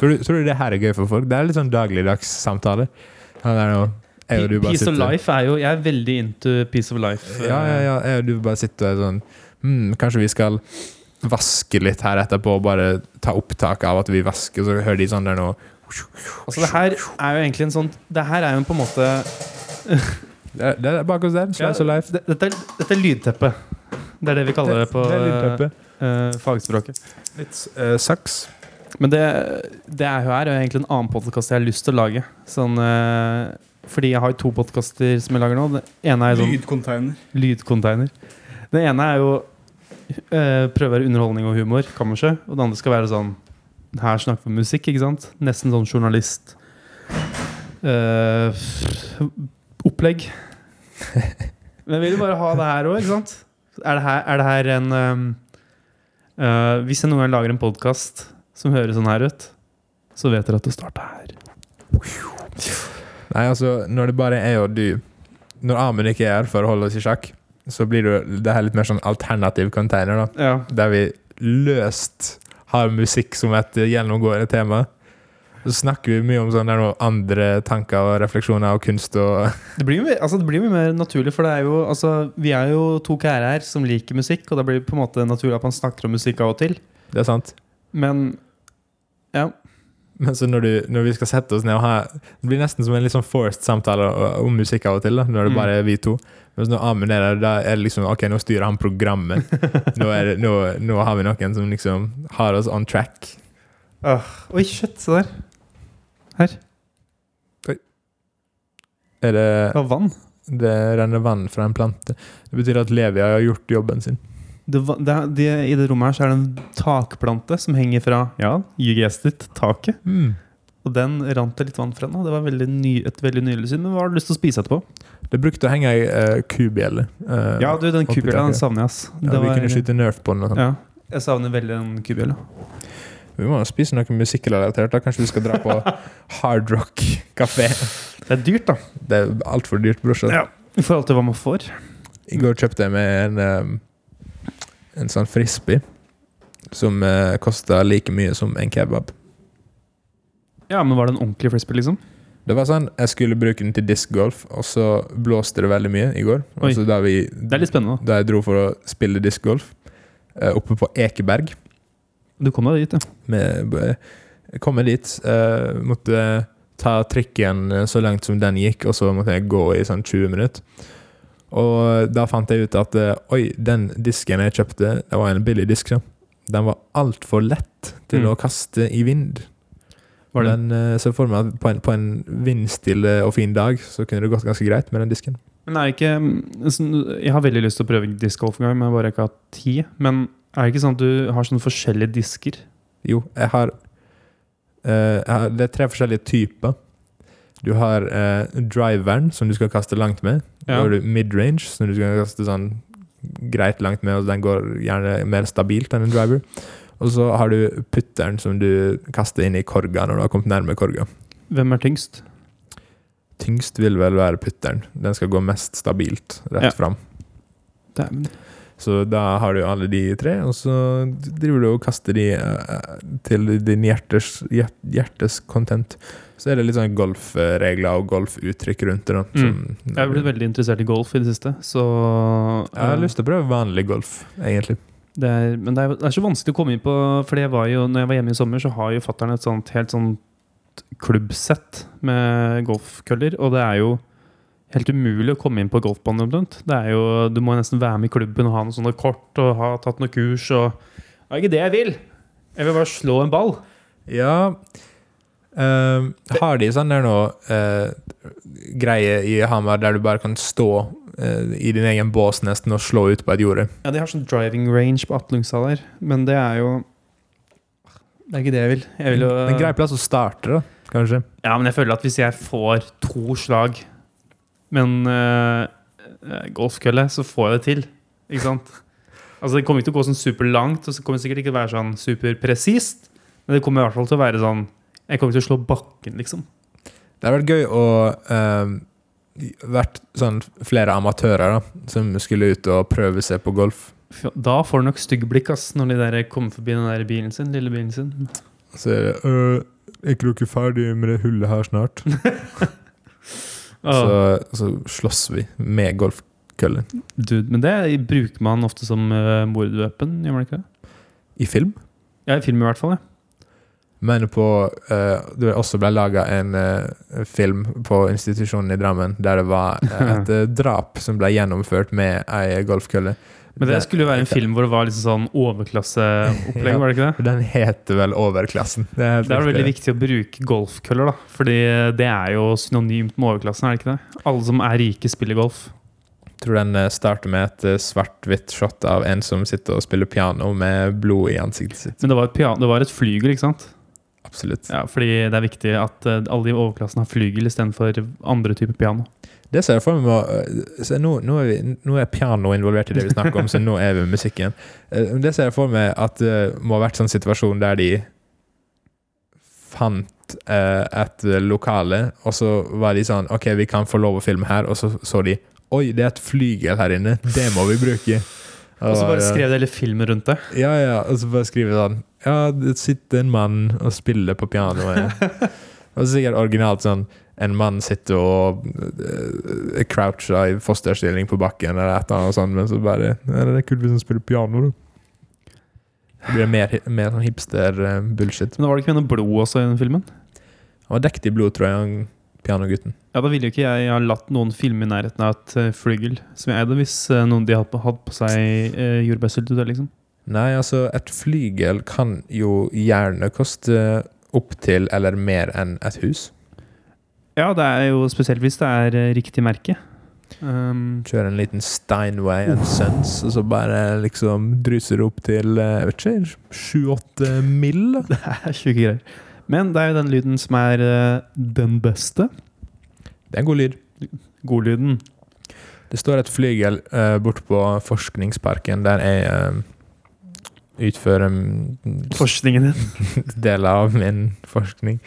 [SPEAKER 2] Tror du, tror du det her er gøy for folk? Det er litt sånn dagligdags samtale. Han er jo jeg og du bare
[SPEAKER 1] Peace of
[SPEAKER 2] sitter-
[SPEAKER 1] life er jo Jeg er veldig into peace of life.
[SPEAKER 2] Ja, ja, ja.
[SPEAKER 1] Eh,
[SPEAKER 2] Jeg og du bare sitter og er sånn hmm, Kanskje vi skal vaske litt her etterpå, og bare ta opptak av at vi vasker, så hører de sånn der nå
[SPEAKER 1] Altså, det her er jo egentlig en sånn Det her er jo på en måte
[SPEAKER 2] Det er- det er bak oss der. Slice of life.
[SPEAKER 1] det- Dette, er- dette er lydteppe. Det er det vi kaller det på
[SPEAKER 2] Det er litt peppe.
[SPEAKER 1] eh, fagspråket.
[SPEAKER 2] Litt eh, saks.
[SPEAKER 1] Men det, det er jo her er jo egentlig en annen podkast jeg har lyst til å lage. Sånn, eh, fordi jeg har jo to podkaster som jeg lager nå. Det ene er jo sånn
[SPEAKER 4] Lydcontainer.
[SPEAKER 1] lydcontainer. Det ene er jo eh, prøve å være underholdning og humor, kammerset. Og det andre skal være sånn Her snakker vi musikk, ikke sant? Nesten sånn journalist. eh, opplegg. Men jeg vil jo bare ha det her òg, ikke sant? Er det her, er det her en eh, eh, Hvis jeg noen gang lager en podkast som høres sånn her ut, så vet dere at det starta her.
[SPEAKER 2] Nei, altså, når det bare er jeg og du Når Amund ikke er her for å holde oss i sjakk, så blir det, jo- det her litt mer sånn alternativ container, da.
[SPEAKER 1] Ja.
[SPEAKER 2] Der vi løst har musikk som et gjennomgående tema. Så snakker vi mye om sånn, sånne der noe andre tanker og refleksjoner og kunst og
[SPEAKER 1] Det blir, jo, mer- altså det blir jo mye mer naturlig, for det er jo, altså, vi er jo to kærer her som liker musikk, og da blir det på en måte naturlig at man snakker om musikk av og til.
[SPEAKER 2] Det er sant.
[SPEAKER 1] Men
[SPEAKER 2] Men så når, du, når vi skal sette oss ned og ha Det blir nesten som en litt sånn forced samtale o- om musikk av og til, da, når det
[SPEAKER 1] Mm.
[SPEAKER 2] bare er vi to. Mens når Amund er der, da er det liksom OK, nå styrer han programmet. Nå, er det, nå, nå har vi noen som liksom har oss on track.
[SPEAKER 1] Oi, shit, se der.
[SPEAKER 2] Er
[SPEAKER 1] Det
[SPEAKER 2] det,
[SPEAKER 1] var vann.
[SPEAKER 2] det renner vann fra en plante. Det betyr at Levi har gjort jobben sin.
[SPEAKER 1] Det, va- det, er- det, I det rommet her så er det en takplante som henger fra ja, you guessed it, taket. Og den rant det litt vann fra nå. Det var veldig ny, et veldig nydelig syn. Men hva har du lyst til å spise etterpå?
[SPEAKER 2] Det brukte å henge ei eh, kubjelle. eh,
[SPEAKER 1] Ja, du, den
[SPEAKER 2] oppi
[SPEAKER 1] kubjella den
[SPEAKER 2] taket.
[SPEAKER 1] savner jeg, ass.
[SPEAKER 2] Ja,
[SPEAKER 1] Det
[SPEAKER 2] vi
[SPEAKER 1] var-
[SPEAKER 2] kunne skyte nerf på den. og sånn.
[SPEAKER 1] Ja. Jeg savner veldig den kubjella.
[SPEAKER 2] Vi må spise noe musikkrelatert. da. Kanskje vi skal dra på Hard Rock kafé.
[SPEAKER 1] Det er dyrt, da.
[SPEAKER 2] Det er altfor dyrt, brorsan.
[SPEAKER 1] Ja. I forhold til hva man får.
[SPEAKER 2] I går kjøpte jeg meg en eh, En sånn frisbee som uh, kosta like mye som en kebab.
[SPEAKER 1] Ja, men var det en ordentlig frisbee, liksom?
[SPEAKER 2] Det var sånn, Jeg skulle bruke den til discgolf, og så blåste det veldig mye i går.
[SPEAKER 1] Oi.
[SPEAKER 2] Og så da, vi,
[SPEAKER 1] Det er litt spennende.
[SPEAKER 2] da jeg dro for å spille discgolf eh, oppe på Ekeberg
[SPEAKER 1] da. Du kom deg dit, ja.
[SPEAKER 2] med, Jeg kom meg dit, eh, måtte ta trikken eh, så langt som den gikk, og så måtte jeg gå i sånn 20 minutter. Og da fant jeg ut at eh, oi, den disken jeg kjøpte, det var en billig disk. da. Den var altfor lett til
[SPEAKER 1] Mm.
[SPEAKER 2] å kaste i vind.
[SPEAKER 1] Var det?
[SPEAKER 2] Men eh, så for meg at på en, på en vindstille og fin dag så kunne det gått ganske greit med den disken.
[SPEAKER 1] Men er det ikke mm, sånn- Jeg har veldig lyst til å prøve discgolf en gang, men jeg har bare ikke hatt tid. Men er det ikke sånn at du har sånne forskjellige disker?
[SPEAKER 2] Jo, jeg har, eh, jeg har Det er tre forskjellige typer. Du har eh, driveren, som du skal kaste langt med. Da
[SPEAKER 1] Ja.
[SPEAKER 2] har du midrange, som du skal kaste sånn greit langt med, og den går gjerne mer stabilt enn en driver. Og så har du putteren, som du kaster inn i korga når du har kommet nærme korga.
[SPEAKER 1] Hvem er tyngst?
[SPEAKER 2] Tyngst vil vel være putteren. Den skal gå mest stabilt
[SPEAKER 1] Ja.
[SPEAKER 2] rett fram.
[SPEAKER 1] Dæven.
[SPEAKER 2] Så da har du alle de tre, og så driver du og kaster de eh, til din hjertes, hjert, hjertes content. Så er det litt sånn golfregler og golfuttrykk rundt det. da.
[SPEAKER 1] Mm.
[SPEAKER 2] som-
[SPEAKER 1] Jeg har blitt veldig interessert i golf i det siste, så
[SPEAKER 2] Jeg har lyst til å prøve vanlig golf, egentlig.
[SPEAKER 1] Det er, men det er, det er så vanskelig å komme inn på Fordi jeg var jo, når jeg var hjemme i sommer, så har jo fattern et sånt helt sånt klubbsett med golfkøller. Og det er jo helt umulig å komme inn på golfbanen omtrent. Det er jo, du må nesten være med i klubben og ha noen sånne kort og ha tatt noen kurs og Det er ikke det jeg vil! Jeg vil bare slå en ball.
[SPEAKER 2] Ja ehm, Har de sånn der nå eh, greie i Hamar der du bare kan stå eh, i din egen bås nesten og slå ut på et jorde?
[SPEAKER 1] Ja, de har sånn driving range på Atlungstad der, men det er jo Det er ikke det jeg vil. Jeg vil jo
[SPEAKER 2] En grei plass å starte, da, kanskje.
[SPEAKER 1] Ja, men jeg føler at hvis jeg får to slag Men øh, øh, golfkølle, så får jeg det til. Ikke sant? Altså Det kommer ikke til å gå sånn superlangt, og så kommer det sikkert ikke til å være sånn superpresist. Men det kommer i hvert fall til å være sånn Jeg kommer til å slå bakken, liksom.
[SPEAKER 2] Det hadde vært gøy å eh, vært sånn flere amatører da, som skulle ut og prøve seg på golf.
[SPEAKER 1] Fy- Da får du nok stygge blikk ass når de der kommer forbi den der bilen sin, lille bilen sin.
[SPEAKER 2] Så er det «Øh, Er ikke dere ferdig med det hullet her snart?
[SPEAKER 1] Åh,
[SPEAKER 2] Så, så slåss vi med golfkøllen.
[SPEAKER 1] dude, men det bruker man ofte som uh, mordvåpen, gjør man ikke det?
[SPEAKER 2] I film.
[SPEAKER 1] Ja, i film i hvert fall. Ja.
[SPEAKER 2] Men på eh, Det også ble laga en eh, film på institusjonen i Drammen der det var eh, et eh, drap som ble gjennomført med ei golfkølle.
[SPEAKER 1] Men det skulle jo være en
[SPEAKER 2] det-
[SPEAKER 1] film hvor det var liksom sånn overklasseopplegg,
[SPEAKER 2] Ja.
[SPEAKER 1] var det ikke det?
[SPEAKER 2] Den heter vel Overklassen. Det er, helt
[SPEAKER 1] Det er
[SPEAKER 2] riktig.
[SPEAKER 1] veldig viktig å bruke golfkøller, da. Fordi eh, det er jo synonymt med overklassen, er det ikke det? Alle som er rike, spiller golf.
[SPEAKER 2] tror den eh, starter med et eh, svart-hvitt shot av en som sitter og spiller piano med blod i ansiktet sitt.
[SPEAKER 1] Men det var et, pian det var et flygel, ikke sant?
[SPEAKER 2] Absolutt.
[SPEAKER 1] Ja, fordi det er viktig at eh, alle i overklassen har flygel istedenfor andre typer piano.
[SPEAKER 2] Det ser jeg for meg med å- eh, så nå, nå, er vi, nå er piano involvert i det vi snakker om, så nå er vi med musikken. Eh, Det ser jeg for meg at det må ha vært sånn situasjon der de fant eh, et lokale, og så var de sånn OK, vi kan få lov å filme her, og så så de Oi, det er et flygel her inne. Det må vi bruke. eh,
[SPEAKER 1] Og så bare
[SPEAKER 2] Ja.
[SPEAKER 1] skrev de hele filmen rundt det.
[SPEAKER 2] Ja, ja, og så bare skrive sånn Ja, det sitter en mann og spiller på pianoet. og så sikkert originalt sånn En mann sitter og uh, croucher i fosterstilling på bakken, eller et eller annet sånt, men så bare Ja, det er kult hvis han spiller piano, da. Det blir mer, hi- mer sånn hipster-bullshit.
[SPEAKER 1] Men da var det ikke noe blod også i den filmen?
[SPEAKER 2] Han var dekket i blod, tror jeg, han pianogutten.
[SPEAKER 1] Ja, Da ville jo ikke jeg ha latt noen filme i nærheten av et eh, flygel som jeg eide, hvis eh, noen de hadde på, hadde på seg eh, jordbærsyltetøy, liksom.
[SPEAKER 2] Nei, altså, et flygel kan jo gjerne koste opptil eller mer enn et hus.
[SPEAKER 1] Ja, det er jo spesielt hvis det er eh, riktig merke. Um,
[SPEAKER 2] Kjøre en liten Steinway and Sons, og så bare liksom druser det opp til eh, jeg vet ikke, 7-8 mill.
[SPEAKER 1] Det er sjuke greier. Men det er jo den lyden som er eh, den beste.
[SPEAKER 2] Det er en god lyd.
[SPEAKER 1] Godlyden.
[SPEAKER 2] Det står et flygel uh, borte på Forskningsparken, der jeg eh, utfører mm,
[SPEAKER 1] Forskningen din.
[SPEAKER 2] deler av min forskning.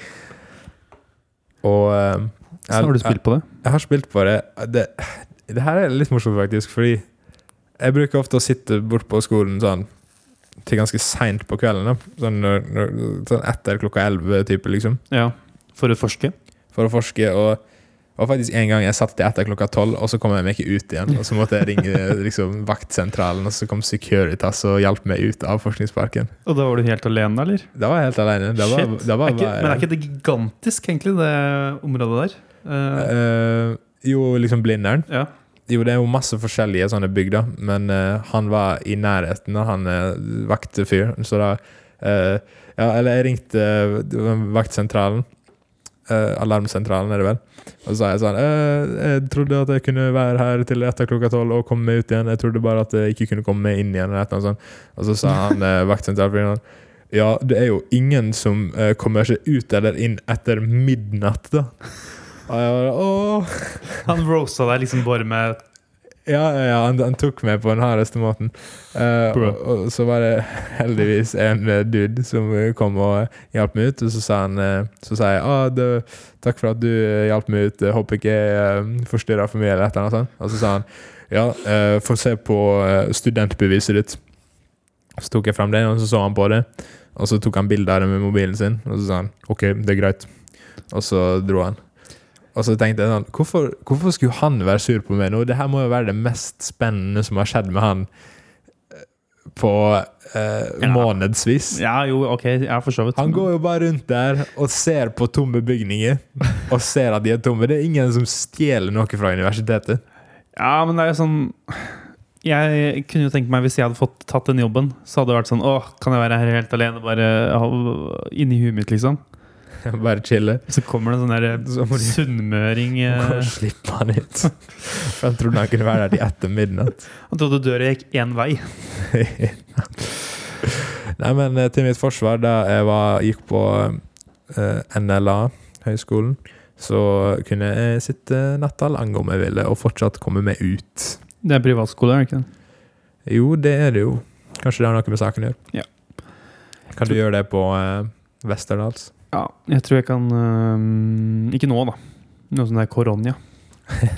[SPEAKER 2] Og eh,
[SPEAKER 1] Så har du
[SPEAKER 2] jeg,
[SPEAKER 1] spilt på det.
[SPEAKER 2] Jeg har spilt på det. det. Det her er litt morsomt, faktisk, fordi jeg bruker ofte å sitte bort på skolen sånn til ganske seint på kvelden. da. Sånn, når, når, sånn etter klokka elleve, type, liksom,
[SPEAKER 1] Ja. For å forske.
[SPEAKER 2] for å forske. Og og faktisk en gang jeg satt til etter klokka tolv, og så kom jeg meg ikke ut igjen. Og så måtte jeg ringe liksom, vaktsentralen, og så kom Securitas og hjalp meg ut av forskningsparken.
[SPEAKER 1] Og da var du helt alene, eller?
[SPEAKER 2] Da var jeg helt alene. Da var,
[SPEAKER 1] Shit.
[SPEAKER 2] da var,
[SPEAKER 1] er ikke, men er ikke det gigantisk, egentlig, det området der? Eh,
[SPEAKER 2] Eh, Jo, liksom Blindern.
[SPEAKER 1] ja.
[SPEAKER 2] Jo, det er jo masse forskjellige sånne bygder, men eh, han var i nærheten, og han uh, vaktefyr, så da eh, Ja, eller jeg ringte eh, vaktsentralen. Eh, alarmsentralen, er det vel. Og så sa jeg sånn eh, Jeg trodde at jeg kunne være her til etter klokka tolv og komme meg ut igjen. Jeg trodde bare at jeg ikke kunne komme meg inn igjen. Eller et eller annet sånt. Og så sa han eh, vaktsentralen Ja, det er jo ingen som eh, kommer seg ut eller inn etter midnatt, da. Og jeg bare Åh!
[SPEAKER 1] Han roasta deg liksom bare med
[SPEAKER 2] Ja, ja, ja han, han tok meg på den hardeste måten. Eh,
[SPEAKER 1] Bra.
[SPEAKER 2] og, og så var det heldigvis en eh, dude som eh, kom og hjalp meg ut. Og så sa han eh, Så sa jeg ah, det, 'Takk for at du eh, hjalp meg ut. Jeg håper ikke jeg uh, forstyrra for mye.' Eller et eller annet sånt. Og så sa han 'Ja, eh, få se på eh, studentbeviset ditt'. Så tok jeg fram det, og så så han på det. Og så tok han bilde av det med mobilen sin, og så sa han 'OK, det er greit'. Og så dro han. Og så tenkte jeg sånn Hvorfor, hvorfor skulle han være sur på meg nå? Det her må jo være det mest spennende som har skjedd med han eh, på eh,
[SPEAKER 1] Ja.
[SPEAKER 2] månedsvis.
[SPEAKER 1] Ja, jo, ok, ja, for så vidt.
[SPEAKER 2] Han går jo bare rundt der og ser på tomme bygninger, og ser at de er tomme. Det er ingen som stjeler noe fra universitetet.
[SPEAKER 1] Ja, men det er jo sånn Jeg kunne jo tenke meg Hvis jeg hadde fått tatt den jobben, så hadde det vært sånn Åh, kan jeg være her helt alene? Bare ha- inni huet mitt, liksom.
[SPEAKER 2] Bare chiller.
[SPEAKER 1] Så kommer det en sånn
[SPEAKER 2] Så må
[SPEAKER 1] der
[SPEAKER 2] de-
[SPEAKER 1] sunnmøring eh,
[SPEAKER 2] Går og slipper han ut. For han trodde han kunne være der til etter midnatt.
[SPEAKER 1] Han trodde døra gikk én vei.
[SPEAKER 2] Nei, men eh, til mitt forsvar, da jeg var, gikk på eh, NLA, høyskolen, så kunne jeg sitte natta lang om jeg ville, og fortsatt komme meg ut.
[SPEAKER 1] Det er privatskole, er det ikke det?
[SPEAKER 2] Jo, det er det jo. Kanskje det har noe med saken å gjøre.
[SPEAKER 1] Ja.
[SPEAKER 2] Kan du gjøre det på eh, Vesterdals?
[SPEAKER 1] Ja, jeg tror jeg kan eh, Ikke nå, da. Noe sånn som det er koronia.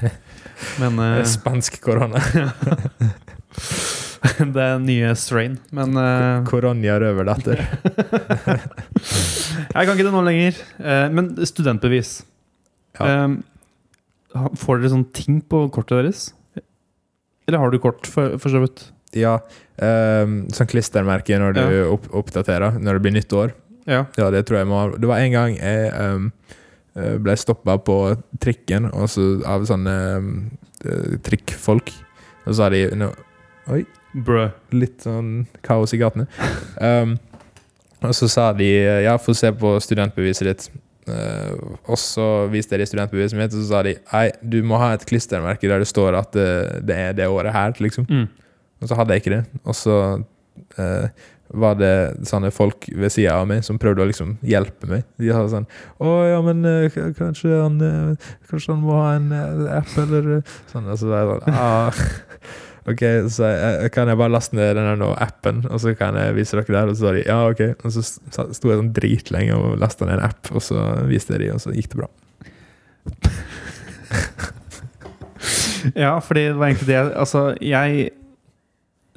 [SPEAKER 1] Men eh,
[SPEAKER 2] Eh, Spansk korona.
[SPEAKER 1] Det er den nye strain. Men eh,
[SPEAKER 2] Koronia røverdatter.
[SPEAKER 1] Jeg kan ikke det nå lenger. Eh, men studentbevis.
[SPEAKER 2] Ja.
[SPEAKER 1] Eh, ha- får dere sånn ting på kortet deres? Eller har du kort, for, for så vidt?
[SPEAKER 2] Ja. eh, sånn klistremerke når du
[SPEAKER 1] Ja.
[SPEAKER 2] opp oppdaterer, når det blir nytt år.
[SPEAKER 1] Ja.
[SPEAKER 2] Ja, det tror jeg må ha. Det var en gang jeg ehm, eh, ble stoppa på trikken og så av sånne ehm, eh, trikkfolk. Og så sa de no,
[SPEAKER 1] Brø.
[SPEAKER 2] litt sånn kaos i gatene. Ehm, og så sa de eh, ja, få se på studentbeviset ditt. Eh, og så viste jeg de studentbeviset mitt, og så sa de nei, du må ha et klistremerke der det står at eh, det er det året her, liksom.
[SPEAKER 1] Mm.
[SPEAKER 2] Og så hadde jeg ikke det. Og så eh, var det sånne folk ved sida av meg som prøvde å liksom hjelpe meg. De sa sånn 'Å ja, men eh, k- kanskje han eh, Kanskje han må ha en eh, app, eller eh, sånn.' Og så var jeg sånn ah. Ok, så jeg, kan jeg bare laste ned den der nå appen, og så kan jeg vise dere der? Og så sa de ja, ok. Og så s- sa- sto jeg sånn dritlenge og lasta ned en app, og så viste jeg de, og så gikk det bra.
[SPEAKER 1] Ja, fordi det var egentlig det jeg- Altså, jeg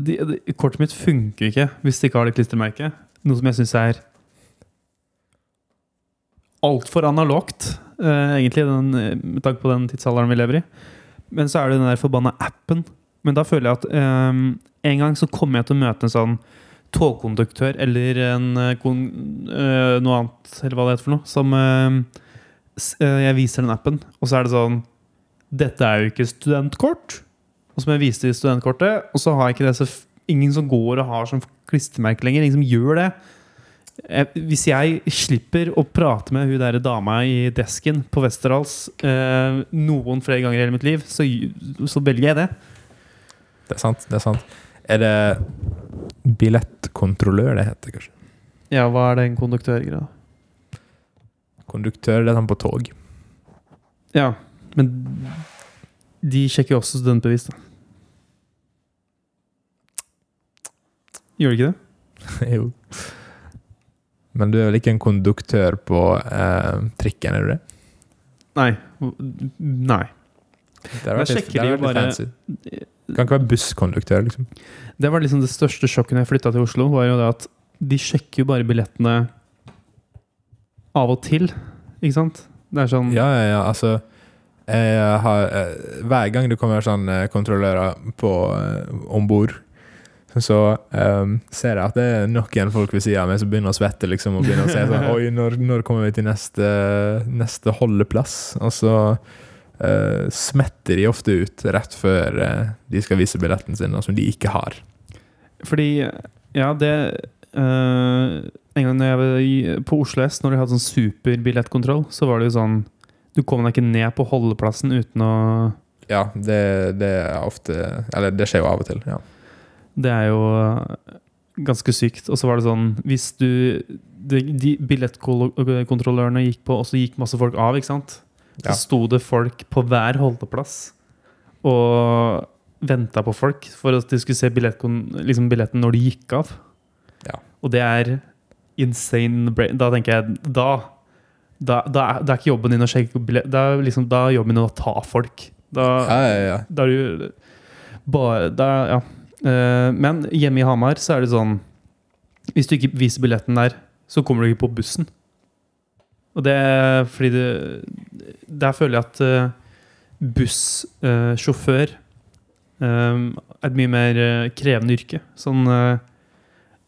[SPEAKER 1] de, de, Kortet mitt funker ikke hvis det ikke har det klistremerket. Noe som jeg syns er altfor analogt, eh, egentlig, den, eh, med tanke på den tidsalderen vi lever i. Men så er det den der forbanna appen. Men da føler jeg at eh, en gang så kommer jeg til å møte en sånn togkonduktør eller en eh, kon, eh, noe annet, eller hva det heter for noe, som eh, s- eh, jeg viser den appen, og så er det sånn dette er jo ikke studentkort. Og så må jeg vise til studentkortet, og så har jeg ikke det. Så f- ingen som går og har sånn klistremerke lenger. Ingen som gjør det. Eh, Hvis jeg slipper å prate med hun der dama i desken på Westerdals eh, noen flere ganger i hele mitt liv, så, gj- så velger jeg det.
[SPEAKER 2] Det er sant, det er sant. Er det billettkontrollør det heter, kanskje?
[SPEAKER 1] Ja, hva er det en konduktørgreie?
[SPEAKER 2] Konduktør, det er sånn på tog.
[SPEAKER 1] Ja, men de sjekker jo også studentbevis, da. Gjør de ikke det?
[SPEAKER 2] jo. Men du er vel ikke en konduktør på eh, trikken, er du det?
[SPEAKER 1] Nei. Hv- Nei.
[SPEAKER 2] Det har
[SPEAKER 1] Da
[SPEAKER 2] vært litt-
[SPEAKER 1] sjekker
[SPEAKER 2] det
[SPEAKER 1] de
[SPEAKER 2] har
[SPEAKER 1] jo
[SPEAKER 2] vært litt
[SPEAKER 1] bare-
[SPEAKER 2] fancy. Kan ikke være busskonduktør, liksom.
[SPEAKER 1] Det var liksom det største sjokket når jeg flytta til Oslo, var jo det at de sjekker jo bare billettene av og til, ikke sant? Det er sånn
[SPEAKER 2] Ja, ja, ja, altså jeg har, eh, Hver gang det kommer sånn eh, kontrollører på eh, om bord, så eh, ser jeg at det er noen folk ved siden av meg som begynner å svette. liksom Og begynner å se sånn Oi, når, når kommer vi til neste, neste holdeplass? Og så eh, smetter de ofte ut rett før eh, de skal vise billetten sin, og som de ikke har.
[SPEAKER 1] Fordi Ja, det øh, En gang når jeg var i- på Oslo S, når de hadde sånn superbillettkontroll, så var det jo sånn Du kom deg ikke ned på holdeplassen uten å
[SPEAKER 2] Ja, det, det er ofte Eller det skjer jo av og til. Ja.
[SPEAKER 1] Det er jo eh, ganske sykt. Og så var det sånn Hvis du De, de billettkontrollørene gikk på, og så gikk masse folk av, ikke sant? Så
[SPEAKER 2] Ja.
[SPEAKER 1] sto det folk på hver holdeplass og venta på folk for at de skulle se billettkon- liksom billetten når de gikk av.
[SPEAKER 2] Ja.
[SPEAKER 1] Og det er insane bra- Da tenker jeg Da da, da, er, da er ikke jobben din å sjekke billett Da er liksom, da er jobben din å ta folk. Da,
[SPEAKER 2] Ja, ja, ja.
[SPEAKER 1] da er det jo bare da, ja. Eh, Men hjemme i Hamar så er det sånn Hvis du ikke viser billetten der, så kommer du ikke på bussen. Og det er fordi det Der føler jeg at eh, bussjåfør eh, er et mye mer eh, krevende yrke. Sånn eh,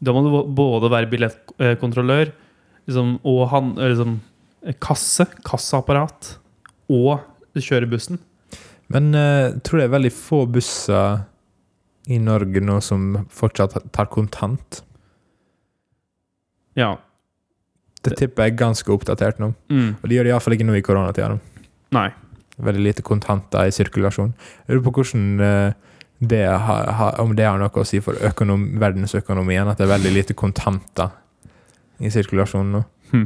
[SPEAKER 1] Da må du bo- både være billettkontrollør liksom, og han, eh, liksom, kasse, kassaapparat, og kjøre bussen.
[SPEAKER 2] Men eh, jeg tror det er veldig få busser i Norge nå som fortsatt tar kontant.
[SPEAKER 1] Ja.
[SPEAKER 2] Det tipper jeg er ganske oppdatert nå.
[SPEAKER 1] Mm.
[SPEAKER 2] Og de gjør det iallfall ikke nå i koronatida. nå.
[SPEAKER 1] Nei.
[SPEAKER 2] Veldig lite kontanter i sirkulasjon. Jeg lurer på hvordan eh, det har, har, om det har noe å si for økonom, verdensøkonomien, at det er veldig lite kontanter i sirkulasjon nå.
[SPEAKER 1] Hmm.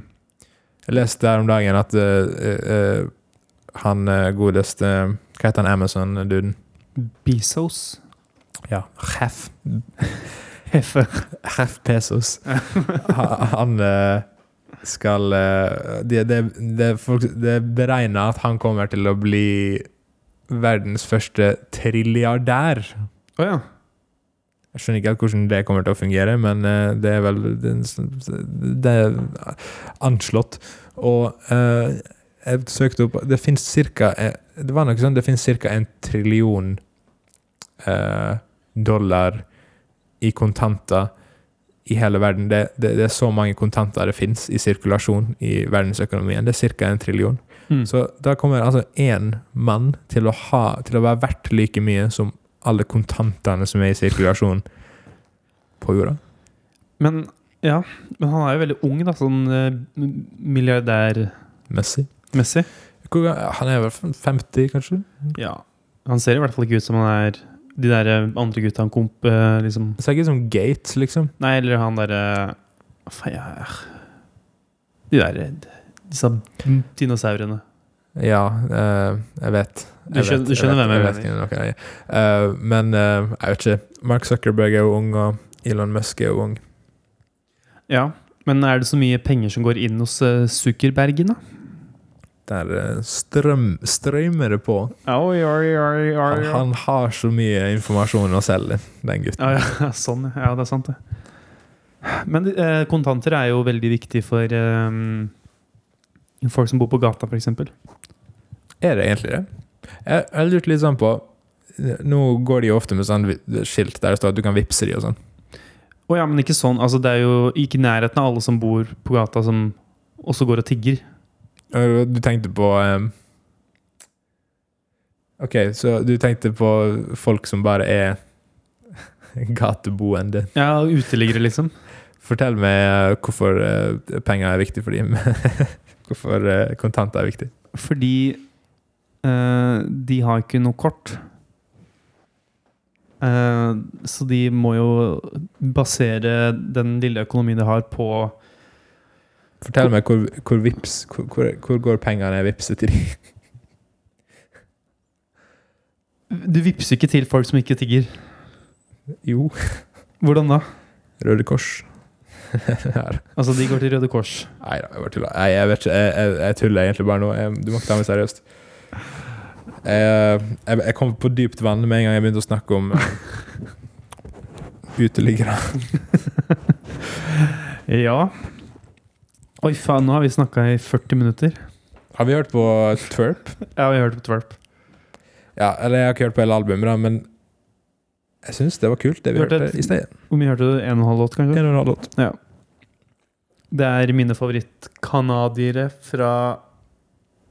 [SPEAKER 2] Jeg leste her om dagen at eh, eh, han eh, godeste Hva heter han Amazon-duden?
[SPEAKER 1] Bezos.
[SPEAKER 2] Ja, Jeff
[SPEAKER 1] Heffe.
[SPEAKER 2] Jeff Pesos. Ha- Han eh, skal eh, Det det- det er folk- det er beregna at han kommer til å bli verdens første trilliardær.
[SPEAKER 1] Å ja.
[SPEAKER 2] Jeg skjønner ikke helt hvordan det kommer til å fungere, men eh, det er vel Det, er en sånn- det er anslått. Og eh, jeg søkte opp Det fins ca. Det var noe sånn, det finnes ca. en trillion eh, dollar i kontanter i hele verden. Det, det, det er så mange kontanter det fins i sirkulasjon i verdensøkonomien. Det er ca. en trillion.
[SPEAKER 1] Mm.
[SPEAKER 2] Så da kommer altså én mann til å, ha, til å være verdt like mye som alle kontantene som er i sirkulasjon på jorda.
[SPEAKER 1] Men ja, men han er jo veldig ung, da, sånn eh, milliardærmessig.
[SPEAKER 2] Messi. Hvor, ga- han er vel 50, kanskje?
[SPEAKER 1] Ja. Han ser i hvert fall ikke ut som han er de der eh, andre gutta han komp... eh, Liksom.
[SPEAKER 2] Det ser ikke ut som Gates, liksom.
[SPEAKER 1] Nei, eller han derre Hva faen jeg er De der eh, Disse dinosaurene.
[SPEAKER 2] Ja, eh, jeg vet.
[SPEAKER 1] Du skjønner- du skjønner hvem jeg
[SPEAKER 2] vet ikke noe, jeg. Eh, men eh, jeg vet ikke. Mark Zuckerberg er jo ung, og Elon Musk er jo ung.
[SPEAKER 1] Ja. Men er det så mye penger som går inn hos eh, Zuckerbergen, da?
[SPEAKER 2] Der eh, strøm, strømmer det på.
[SPEAKER 1] Oi, oi, oi,
[SPEAKER 2] Han, han har så mye informasjon å selge, den gutten.
[SPEAKER 1] Ja, ja, sånn. ja. Ja, det er sant, det. Men eh, kontanter er jo veldig viktig for eh, folk som bor på gata, f.eks.
[SPEAKER 2] Er det egentlig det? Jeg jeg har lurt litt sånn på Nå går de jo ofte med sånn vi- skilt der det står at du kan vippse de og sånn.
[SPEAKER 1] Å ja, men ikke sånn. Altså, det er jo ikke i nærheten av alle som bor på gata, som også går og tigger.
[SPEAKER 2] Og Du tenkte på ehm, Ok, så du tenkte på folk som bare er gateboende.
[SPEAKER 1] Ja, og Uteliggere, liksom.
[SPEAKER 2] Fortell meg eh, hvorfor eh, penger er viktig for dem. hvorfor eh, kontanter er viktig.
[SPEAKER 1] Fordi eh, de har ikke noe kort. Eh, så de må jo basere den lille økonomien de har, på
[SPEAKER 2] Fortell meg hvor, hvor, vips, hvor, hvor, hvor går pengene jeg vippser til dem?
[SPEAKER 1] Du vippser ikke til folk som ikke tigger.
[SPEAKER 2] Jo,
[SPEAKER 1] Hvordan da?
[SPEAKER 2] Røde Kors. Her.
[SPEAKER 1] Altså, de går til Røde Kors.
[SPEAKER 2] Nei da, jeg bare tuller. Nei, jeg vet ikke. Jeg, jeg, jeg tuller egentlig bare nå. Jeg, du må ikke ta meg seriøst. Jeg, jeg, jeg kom på dypt vann med en gang jeg begynte å snakke om eh, uteliggere.
[SPEAKER 1] Ja. Oi, faen, nå har vi snakka i 40 minutter.
[SPEAKER 2] Har vi hørt på Twerp?
[SPEAKER 1] Ja, vi har hørt på Twerp.
[SPEAKER 2] Ja, eller jeg har ikke hørt på hele albumet, da, men jeg syns det var kult, det vi
[SPEAKER 1] Hørte
[SPEAKER 2] hørte,
[SPEAKER 1] et-
[SPEAKER 2] i sted.
[SPEAKER 1] Hvor mye hørte du? En og en halv låt,
[SPEAKER 2] En
[SPEAKER 1] kanskje?
[SPEAKER 2] og en halv låt.
[SPEAKER 1] Det er mine favorittkanadiere fra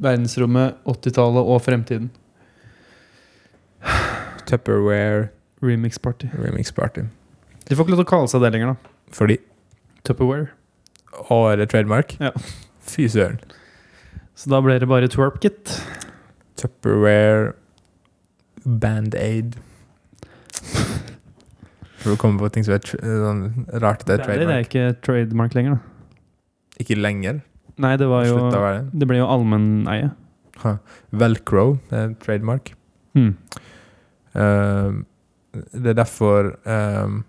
[SPEAKER 1] verdensrommet, 80-tallet og fremtiden.
[SPEAKER 2] Tupperware
[SPEAKER 1] Remix Party.
[SPEAKER 2] Remix Party.
[SPEAKER 1] De får ikke lov til å kalle seg det lenger, da.
[SPEAKER 2] Fordi
[SPEAKER 1] Tupperware.
[SPEAKER 2] Og er det trademark?
[SPEAKER 1] Ja.
[SPEAKER 2] Fy søren.
[SPEAKER 1] Så da ble det bare twerp-kit.
[SPEAKER 2] Tupperware Band-Aid. For å komme på ting som er tr sånn rart at det
[SPEAKER 1] Band-Aid er
[SPEAKER 2] er trademark.
[SPEAKER 1] ikke trademark lenger, da.
[SPEAKER 2] Ikke lenger.
[SPEAKER 1] Nei, det var jo
[SPEAKER 2] Slutta å være det.
[SPEAKER 1] Det ble jo allmenneie.
[SPEAKER 2] Velcro er trademark.
[SPEAKER 1] Hmm.
[SPEAKER 2] Ehm, det er derfor ehm,